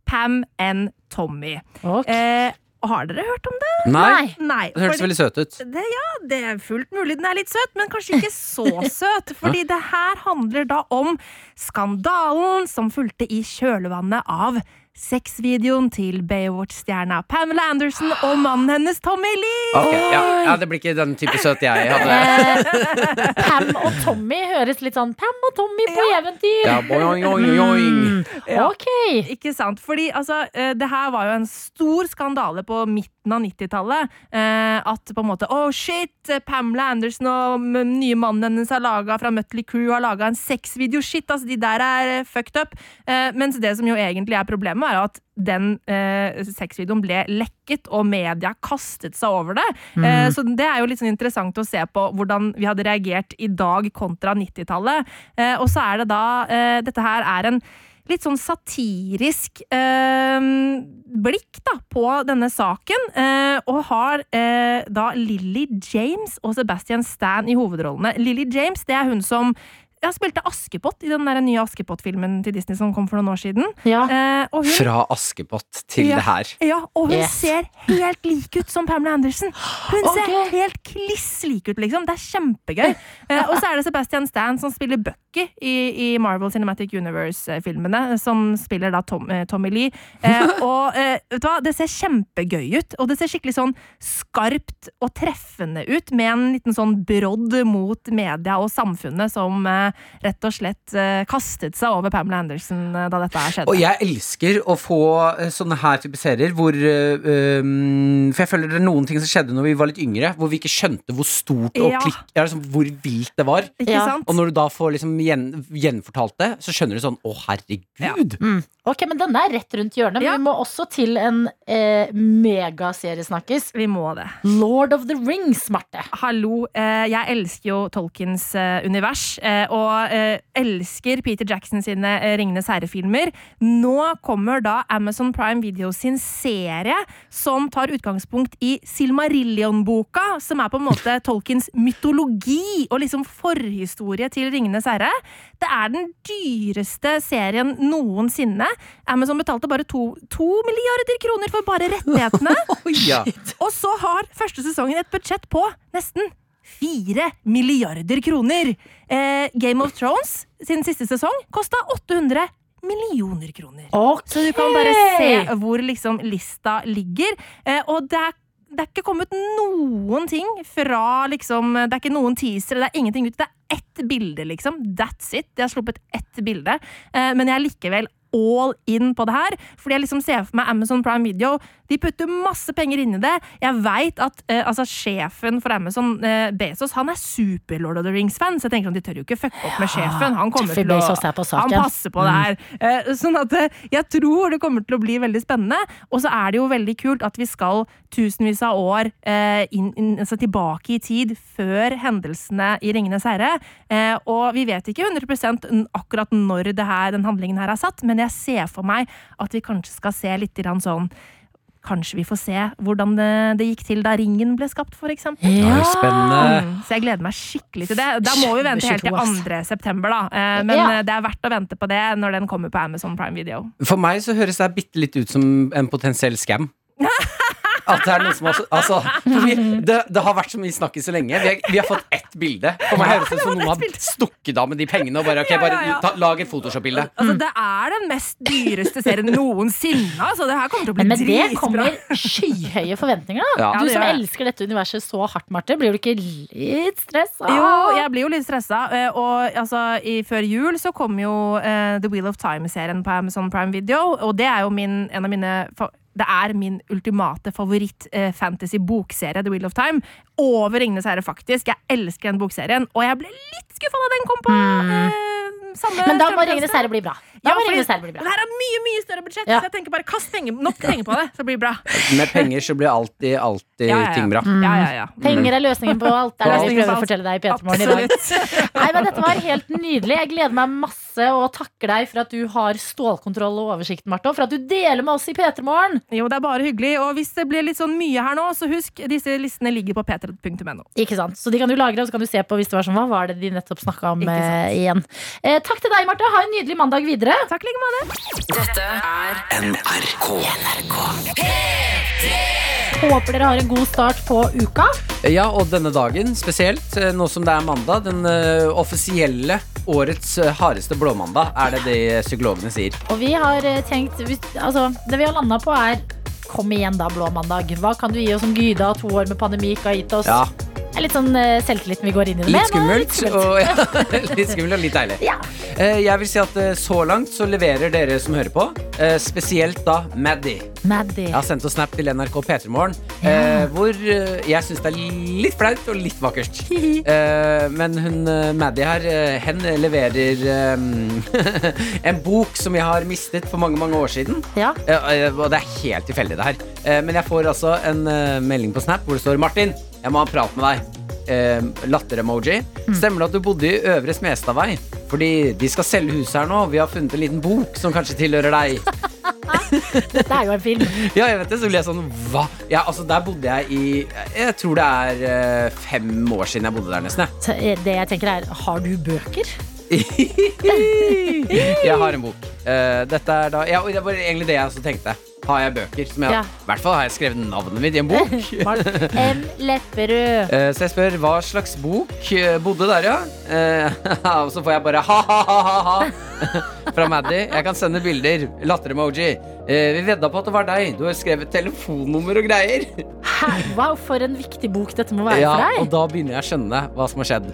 Pam and Tommy.
Ok.
Eh, har dere hørt om det?
Nei.
Nei.
Det hørtes
fordi-
veldig søt ut.
det, ja, det er fullt mulig den er litt søt, men kanskje ikke så søt. Fordi det her handler da om skandalen som fulgte i kjølvannet av sexvideoen til Baywatch-stjerna Pamela Anderson og mannen hennes Tommy Lee.
Ok, ja. ja, Det blir ikke den type søt jeg hadde.
Eh, Pam og Tommy høres litt sånn Pam og Tommy på eventyr.
Ja, boing, boing, boing.
Ja.
Ok.
Ikke sant? Fordi altså, eh, det her var jo en stor skandale på midten av 90-tallet. eh, At på en måte Oh shit! eh, Pamela Anderson og m- nye mannen hennes har laget, fra Mutley Crew har laga en sexvideo. Shit, altså, de der er eh, fucked up. Eh, Mens det som jo egentlig er problemet, er jo at den eh, sexvideoen ble lekket, og media kastet seg over det. Eh, så det er jo litt sånn interessant å se på hvordan vi hadde reagert i dag kontra 90-tallet. Eh, og så er det da eh, Dette her er en litt sånn satirisk eh, blikk da, på denne saken, eh, og har eh, da Lily James og Sebastian Stan i hovedrollene. Lily James det er hun som ja, spilte Askepott i den der nye Askepott-filmen til Disney som kom for noen år siden.
Ja.
Eh, og hun,
Fra Askepott til
Ja.
det her.
ja, og hun
Yes.
ser helt lik ut som Pamela Andersen. Hun ser
Ok.
helt kliss lik ut, liksom. Det er kjempegøy. Eh, og så er det Sebastian Stan som spiller Bucky i, i Marvel Cinematic Universe-filmene, som spiller da Tom, eh, Tommy Lee.
*laughs*
Eh, og eh, vet du hva, det ser kjempegøy ut, og det ser skikkelig sånn skarpt og treffende ut, med en liten sånn brodd mot media og samfunnet som eh, rett og slett eh, kastet seg over Pamela Andersen eh, da dette her skjedde.
Og jeg elsker å få eh, sånne her type serier hvor eh, um, For jeg føler det er noen ting som skjedde når vi var litt yngre, hvor vi ikke skjønte hvor stort og
Ja.
klikk, ja, liksom, hvor vilt det var.
Ikke
Ja.
sant?
Og når du da får liksom gjen, gjenfortalt det, så skjønner du sånn Å,
Mm.
herregud!
Ok, men denne er rett rundt hjørnet. Men
Ja.
vi må også til en eh, megaseriesnakkis.
Vi må det.
Lord of the Rings, Marte.
Hallo, eh, jeg elsker jo Tolkiens eh, univers, eh, og eh, elsker Peter Jackson sine eh, Ringenes herre-filmer. Nå kommer da Amazon Prime Video sin serie som tar utgangspunkt i Silmarillion-boka, som er på en
*laughs*
måte Tolkiens mytologi og liksom forhistorie til Ringenes herre. Det er den dyreste serien noensinne. Amazon betalte bare to, to milliarder kroner for
*laughs*
bare rettighetene.
Oi, ja.
Og så har første sesongen et budsjett på nesten 4 milliarder kroner. Eh, Game of Thrones sin siste sesong kosta 800 millioner kroner. Så du kan bare se hvor liksom lista ligger. Eh, og det er det er ikke kommet noen ting fra liksom, Det er ikke noen teaser, det er ingenting ute. Det er ett bilde, liksom. That's it. De har sluppet ett bilde. Eh, men jeg er likevel all in på det her. Fordi jeg liksom ser for meg Amazon Prime Video. De putter masse penger inn i det. Jeg veit at eh, altså, sjefen for Amazon, eh, Bezos, han er super Lord of the Rings-fan, så jeg tenker at de tør jo ikke fucke opp med sjefen. Han kommer
Jeffrey
til å
Bezos er på saken. Mm.
Han passer på det her. Eh, Sånn at eh, jeg tror det kommer til å bli veldig spennende. Og så er det jo veldig kult at vi skal tusenvis av år eh, inn, inn, altså tilbake i tid før hendelsene i Ringenes herre. Eh, Og vi vet ikke 100 n- akkurat når det her, den handlingen her er satt, men jeg jeg ser for meg at vi kanskje skal se litt grann sånn Kanskje vi får se hvordan det, det gikk til da Ringen ble skapt, for eksempel.
Oi, spennende.
Mm, Så jeg gleder meg skikkelig til det. Da må vi vente helt til
22, ass.
2. september, da. Eh, Men
Ja.
eh, det er verdt å vente på det når den kommer på Amazon Prime Video.
For meg så høres det bitte litt ut som en potensiell
*laughs*
scam. At det er noen som har Altså, for vi, det, det har vært så mye snakk i så lenge. Vi har, vi har fått ett bilde. For meg høres det ut som noen har stukket av med de pengene og bare ok, bare ta, lag et Photoshop-bilde.
Altså, det er den mest dyreste serien noensinne. Altså, det her kommer til å bli
Men med det
dritbra. *laughs*
kommer skyhøye forventninger. Da.
Ja.
Du
Ja, det
som
gjør det.
elsker dette universet så hardt, Marte, blir du ikke litt stressa?
Jo, jeg blir jo litt stressa. eh, Og altså, i, før jul så kom jo eh, The Wheel of Time-serien på Amazon Prime Video, og det er jo min, en av mine fa- det er min ultimate favoritt-fantasy-bokserie, The Wheel of Time. Over Ringenes herre, faktisk. Jeg elsker den bokserien, og jeg ble litt skuffa da den kom på eh, samme
Mm. Men da må
strømtjeneste.
Ringenes herre bli bra. Da
Ja,
må
fordi
Ringenes herre bli
Det
bra.
her er mye mye større budsjett,
Ja.
så jeg tenker bare kast penger, nok penger på det, så blir det bra.
Med penger så blir alltid, alltid
Ja, Mm. ja, ja.
ting bra.
Ja, ja, ja.
Penger er løsningen på alt. Det er det vi
Løsningen på
prøver å
alt.
fortelle deg i P3morgen i dag.
Absolutt.
Nei, men Dette var helt nydelig. Jeg gleder meg masse og takker deg for at du har stålkontroll og oversikt, Marte, og for at du deler med oss i P3morgen.
Jo, det er bare hyggelig. Og hvis det blir litt sånn mye her nå, så husk, disse listene ligger på p3.no.
Ikke sant? Så de kan du lagre, og så kan du se på hvis det var sånn, hva var det de nettopp snakka om
Ikke sant.
eh, igjen. Eh, takk til deg, Marte. Ha en nydelig mandag videre.
Takk like måte.
Håper dere har en god start på uka.
Ja, og denne dagen spesielt, eh, nå som det er mandag, den eh, offisielle årets eh, hardeste blåmandag, er det de psykologene sier.
Og vi har eh, tenkt hvis- altså, Det vi har landa på, er Kom igjen, da, blå mandag. Hva kan du gi oss som Gyda to år med pandemi ikke har gitt oss?
Ja,
Det er litt sånn eh, selvtilliten vi går inn i det
Litt
men, eh,
skummelt, og, *laughs* litt skummelt og litt deilig.
Ja.
Eh, Jeg vil si at eh, så langt så leverer dere som hører på, eh, spesielt da Maddy.
Maddy.
Jeg har sendt en snap til NRK P3morgen eh, hvor eh, jeg syns det er litt flaut og litt vakkert. Eh, men hun eh, Maddy her, eh, hen leverer eh, *laughs* en bok som jeg har mistet for mange, mange år siden.
Ja.
Eh, eh, Og det er helt tilfeldig, det her. Eh, Men jeg får altså en eh, melding på Snap hvor det står Martin, jeg må ha en prat med deg. Eh, Latter-emoji. Stemmer det at du bodde i Øvre Smestadvei? Fordi de skal selge huset her nå. Vi har funnet en liten bok som kanskje tilhører deg.
Dette er jo en film.
Ja, jeg vet det. Så ble jeg sånn Hva? Ja, altså, der bodde jeg i Jeg tror det er eh, fem år siden jeg bodde der, nesten. jeg. *laughs*
Så, eh, Det jeg tenker er, har du bøker?
Jeg har en bok. Eh, dette er da ja, og Det var egentlig det jeg også tenkte. Har jeg bøker? Som jeg,
Ja.
I hvert fall har jeg skrevet navnet mitt i en bok. *laughs*
M. Lepperød.
Eh, Så jeg spør hva slags bok eh, bodde der, ja? Eh, *laughs* Og så får jeg bare ha-ha-ha-ha *laughs* fra Maddy. Jeg kan sende bilder. Latter-emoji. Eh, Vi vedda på at det var deg. Du har skrevet telefonnummer og greier.
Hæ? Wow, for en viktig bok dette må være
Ja,
for
og
deg. Mm.
da begynner jeg å skjønne hva som har skjedd.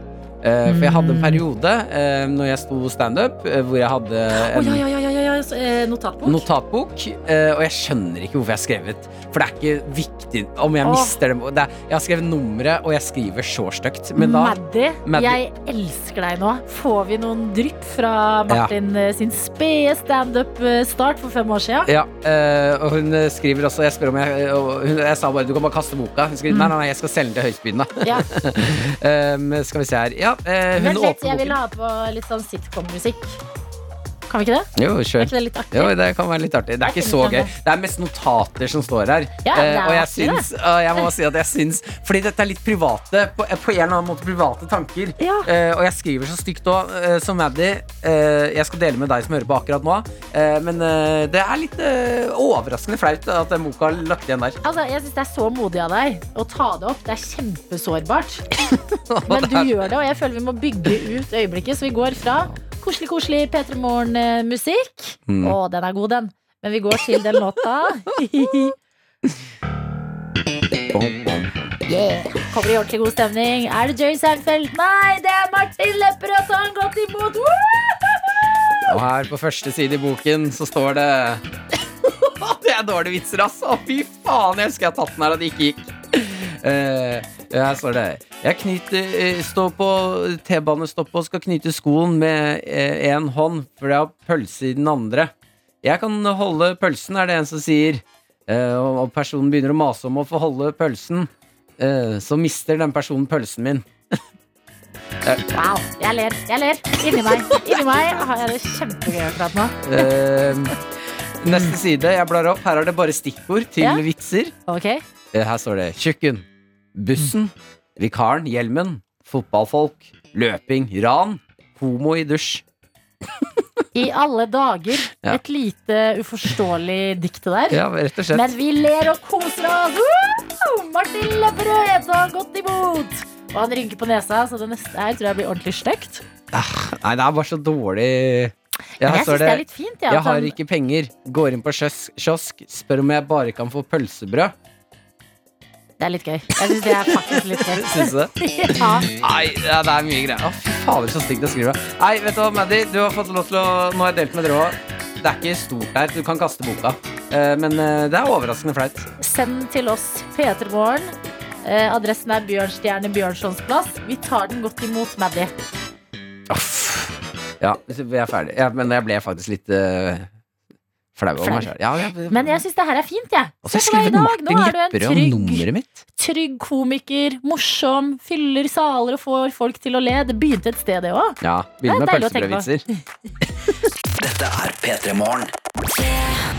Eh, For jeg hadde en periode eh, når jeg sto standup, eh, hvor jeg hadde
Å,
en
ja, ja, ja, ja, ja, ja, så, eh, Notatbok.
notatbok. eh, Og jeg skjønner ikke hvorfor jeg har skrevet. For det er ikke viktig om jeg
Åh.
mister dem. Det er, jeg har skrevet nummeret, og jeg skriver så stygt. Men da
Maddy,
Maddy.
jeg elsker deg nå. Får vi noen drypp fra Martin eh, sin spede standup-start for fem år siden?
Ja, eh, og hun eh, skriver også Jeg spør om jeg eh, og hun, Jeg sa bare du kan bare kaste boka. Hun
Mm.
skriver nei, nei, nei, jeg skal selge den til Høystbyen, da. *laughs*
Ja.
Ehm, skal vi se her. Ja, eh, hun
Vent litt,
åpner
jeg vil ha
boken.
på litt sånn sitcom-musikk. Kan vi ikke det?
Jo,
Er
kjør.
ikke det litt artig?
Jo, det kan være litt artig. Det er
Jeg
ikke så
finner
gøy.
fram det.
Det er mest notater som står her.
Ja, det er
Eh, og jeg
artig, det.
syns, og jeg må si at jeg syns Fordi dette er litt private, på, eh, på en eller annen måte private tanker.
Ja.
Eh, og jeg skriver så stygt òg, som Maddy. eh, jeg skal dele med deg som hører på akkurat nå. Eh, men eh, det er litt eh, overraskende flaut at den boka har lagt igjen der.
Altså, jeg synes Det er så modig av deg å ta det opp. Det er kjempesårbart. Men du gjør det, og jeg føler vi må bygge ut øyeblikket. Så vi går fra koselig, koselig P3 Morgen-musikk. Å, den er god, den. Men vi går til den låta. Yeah. Kommer i ordentlig god stemning. Er det Jerry Seinfeld? Nei, det er Martin Lepperød som har gått imot! Woo!
Og her på første side i boken så står det *laughs* Det er dårlige vitser, ass. Å, fy faen, jeg husker jeg har tatt den her, og det ikke gikk. Eh, her står det Jeg knyter eh, Står på T-banestoppet og skal knyte skoen med én hånd, for jeg har pølse i den andre. Jeg kan holde pølsen, er det en som sier. Eh, og, og personen begynner å mase om å få holde pølsen. Eh, så mister den personen pølsen min.
Wow. Jeg ler. Jeg ler. Inni meg Inni meg har jeg det kjempegøy akkurat nå.
Eh, *laughs* neste side. Jeg blar opp. Her er det bare stikkord til
Ja.
vitser.
Ok?
Eh, Her står det kjøkken, bussen, vikaren, hjelmen, fotballfolk, løping, ran, homo i dusj.
I alle dager.
Ja.
Et lite uforståelig dikt det der.
Ja, rett og slett.
Men vi ler og koser oss! Woo! Martin Lepperød tar godt imot! Og han rynker på nesa, så det neste her tror jeg blir ordentlig stygt.
Nei, det er bare så dårlig. Ja,
Men
her
jeg
står
syns det er litt fint. Ja,
Jeg
at
har
han-
ikke penger. Går inn på kjøs- kiosk, spør om jeg bare kan få pølsebrød.
Det er litt gøy. Jeg syns det er faktisk litt gøy.
*laughs* Syns du det?
Ja.
Nei, ja, det er mye greier. Å, fy fader, så stygt å skrive. Nei, vet du hva, Maddy, du har fått lov til å Nå har jeg delt med dere òg. Det er ikke stort her. Du kan kaste boka. Eh, Men eh, det er overraskende flaut.
Send til oss P3morgen. Eh, adressen er Bjørnstjerne Bjørnsons plass. Vi tar den godt imot, Maddy.
Ja, jeg er ferdig. Ja, men jeg ble faktisk litt eh, flau over
Flau.
meg sjøl. Ja, ja,
Men jeg syns det her er fint, jeg.
og så har jeg
Se på deg i
skrevet
dag. Nå
Martin
er du en
Lepperød og
trygg,
nummeret mitt.
trygg komiker. Morsom. Fyller saler og får folk til å le. Det begynte et sted, det òg.
Ja,
Det
Begynner med
er deilig å tenke på. *laughs*
pølsebrødvitser.
Dette er P3 Morgen.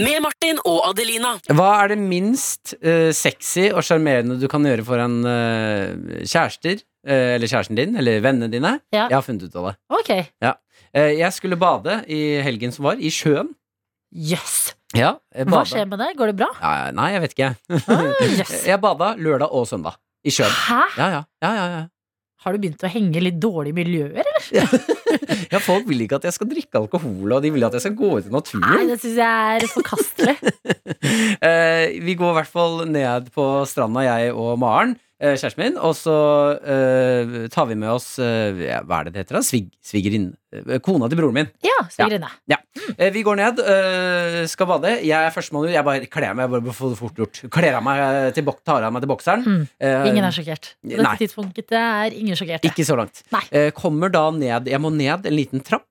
Med Martin og Adelina.
Hva er det minst eh, sexy og sjarmerende du kan gjøre foran eh, kjærester? eh, eller kjæresten din, eller vennene dine?
Ja.
Jeg har funnet ut av det.
Ok.
Eh, jeg skulle bade i helgen som var, i sjøen.
Jøss.
Ja, jeg
Hva
bada.
skjer med det? Går det bra?
Ja, ja, nei, jeg vet ikke.
Ah, jøss.
Jeg bada lørdag og søndag i sjøen.
Hæ?
Ja, ja, ja, ja, ja.
Har du begynt å henge i litt dårlige miljøer? Eller?
ja, folk vil ikke at jeg skal drikke alkohol, og de vil at jeg skal gå ut i *laughs*
Nei,
naturen.
det syns jeg er
*laughs*
forkastelig.
Eh, vi går i hvert fall ned på stranda, jeg og Maren, eh, kjæresten min, og så eh, tar vi med oss eh, ja, Hva er det det heter, da? Svig, svigerinne? eh, Kona til broren min.
Ja, svigerinne.
Eh, vi går ned, eh, skal bade. Jeg er førstemann ut. Jeg bare kler av meg, jeg bare får det fort gjort. Kler av meg eh, til, bok, tar av meg til bokseren.
Mm.
Eh,
Ingen er sjokkert. På dette
Nei.
tidspunktet er ingen sjokkerte.
Ikke så langt.
Nei.
Eh, kommer da ned Jeg må ned en liten trapp.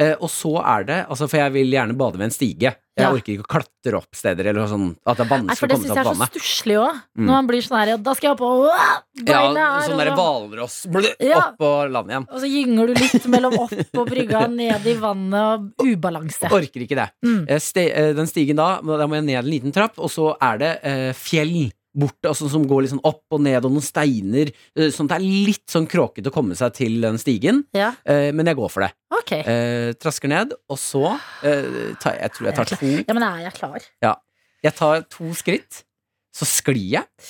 eh, og så er det altså For jeg vil gjerne bade ved en stige. Jeg
Ja.
orker ikke å klatre opp steder eller noe sånn at det er
Nei,
vanskelig
for det
å
syns
komme seg
jeg er
opp på
så
vannet.
stusslig òg.
Mm.
Når man blir sånn her, ja, da skal jeg opp og åh, beina
Ja,
her,
sånn derre
og,
hvalross Blø,
Ja.
opp på land igjen.
og så gynger du litt mellom opp og brygga ned i vannet og ubalanse.
Orker ikke det.
Mm.
Eh, ste, eh, den stigen da, må- da må jeg ned en liten trapp, og så er det eh, fjell bort, altså, som går litt sånn opp og ned, og noen steiner, eh, sånn at det er litt sånn kråkete å komme seg til den stigen.
Ja,
Eh, men jeg går for det.
ok.
Eh, trasker ned, og så eh, tar, Jeg tror jeg tar to
Ja, men er jeg klar?
Jeg tar to skritt, så sklir jeg.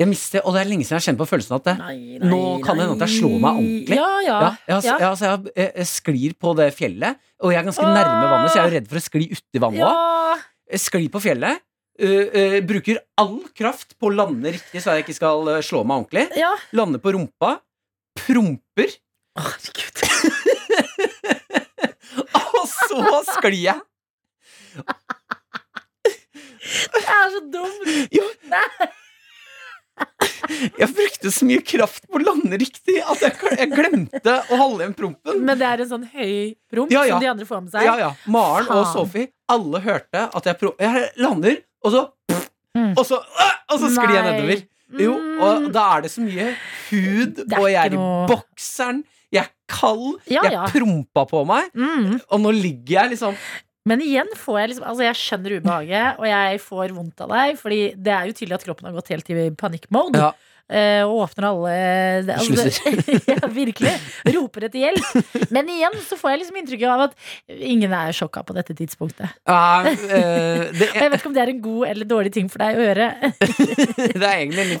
Jeg mister, og det er lenge siden jeg har kjent på følelsen at det,
Nei,
Nå kan det hende at jeg slår meg ordentlig.
Ja, ja.
ja, jeg, har-
ja.
jeg, altså, jeg, jeg, jeg sklir på det fjellet, og jeg er ganske
Åh!
nærme vannet, så jeg er jo redd for å skli uti vannet òg.
Ja.
Jeg Sklir på fjellet. øh, øh, bruker all kraft på å lande riktig, så jeg ikke skal øh, slå meg ordentlig.
ja.
Lander på rumpa. Promper. *laughs*
Å, herregud. *laughs*
Og så sklir jeg.
Jeg er så dum.
Jeg brukte så mye kraft på å lande riktig at jeg, jeg glemte å holde igjen prompen.
Men det er en sånn høy promp
Ja, ja.
som de andre får med seg.
Ja, ja. Maren og
Faen.
Sophie, alle hørte at jeg, pro jeg lander, og så
Mm.
Og så, øh, og så sklir jeg
Nei.
nedover. Jo, og
Mm.
da er det så mye hud,
Det er
og jeg er
ikke
i
noe-
bokseren, jeg er kald,
Ja, ja.
jeg prompa på meg,
Mm.
og nå ligger jeg liksom
Men igjen får jeg liksom Altså jeg skjønner ubehaget, og jeg får vondt av deg. Fordi det er jo tydelig at kroppen har gått helt i panikkmode.
Ja.
eh, Og åpner alle det-
Sluser.
*laughs* ja, virkelig. Roper etter hjelp. Men igjen så får jeg liksom inntrykk av at ingen er sjokka på dette tidspunktet.
«Ja, eh, det,
Og *laughs* jeg vet ikke om det er en god eller dårlig ting for deg å gjøre.
det er egentlig litt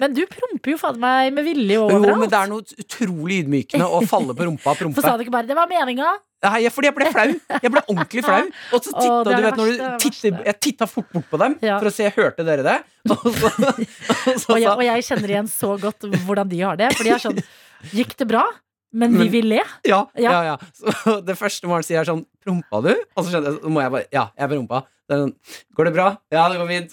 *laughs* Men du promper jo fader meg med vilje
Jo, men
overalt.
det er noe utrolig ydmykende å falle på rumpa og
For sånn
prompe.
sa du ikke bare 'det var meninga'?
Nei, jeg- fordi jeg ble flau. Jeg ble
*laughs*
ordentlig flau. Og så
Å,
titta
det er
du
det
vet, når
verste,
du
det
titter,
verste.
Jeg titta fort bort på dem
Ja.
for å se hørte dere det. Og
*laughs*
så, og så
Og jeg,
sa
og jeg kjenner igjen så godt hvordan de har det. For de er sånn 'gikk det bra', men vi
Men-
vil le.
ja,
ja.
ja, ja. Så det første Maren sier, er sånn Prompa du? Og så skjønte jeg, så må jeg bare Ja, jeg prompa. Det er sånn, Går det bra? Ja, det går fint.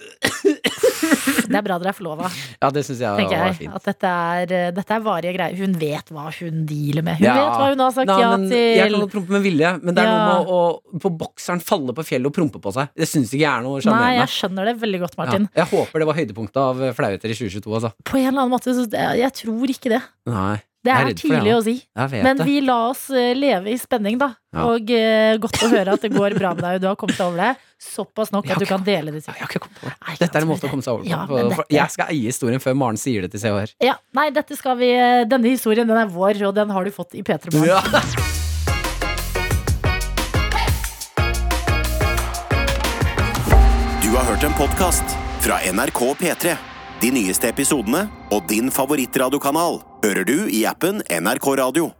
Det er bra dere er forlova,
Ja, det syns jeg var,
tenker
var
jeg.
fint.
At dette er, eh, dette er varige greier. Hun vet hva hun dealer med. Hun
Ja.
vet hva hun har sagt
Nei,
ja
men Jeg kan
til.
godt prompe med vilje, men det er
Ja.
noe med å på bokseren falle på fjellet og prompe på seg. Det syns ikke jeg er
Nei,
noe
jeg
sjarmerende.
skjønner det veldig godt,
Ja.
Martin.
Jeg håper det var høydepunktet av eh, flauheter i 2022, altså.
På en eller annen måte, så jeg, jeg tror ikke det.
Nei,
Det
Jeg er
er
redd for det,
tidlig å si.
jeg vet
Men
det.
vi la oss eh, leve i spenning, da.
Ja.
Og eh, godt å høre at det går bra med deg, og du har kommet deg over det. Såpass nok at du kan dele det til
Jeg har ikke kommet på det.
Nei, jeg
Dette er en
tror
måte å komme seg over på.
Ja,
For-
men
for
dette-
Jeg skal eie historien før Maren sier det til Se og Hør.
Ja, nei, dette skal vi eh, Denne historien den er vår, og den har du fått i P3 Morgen.
Ja.
Du har hørt en podcast fra NRK P3. De nyeste episodene og din favorittradiokanal hører du i appen NRK Radio.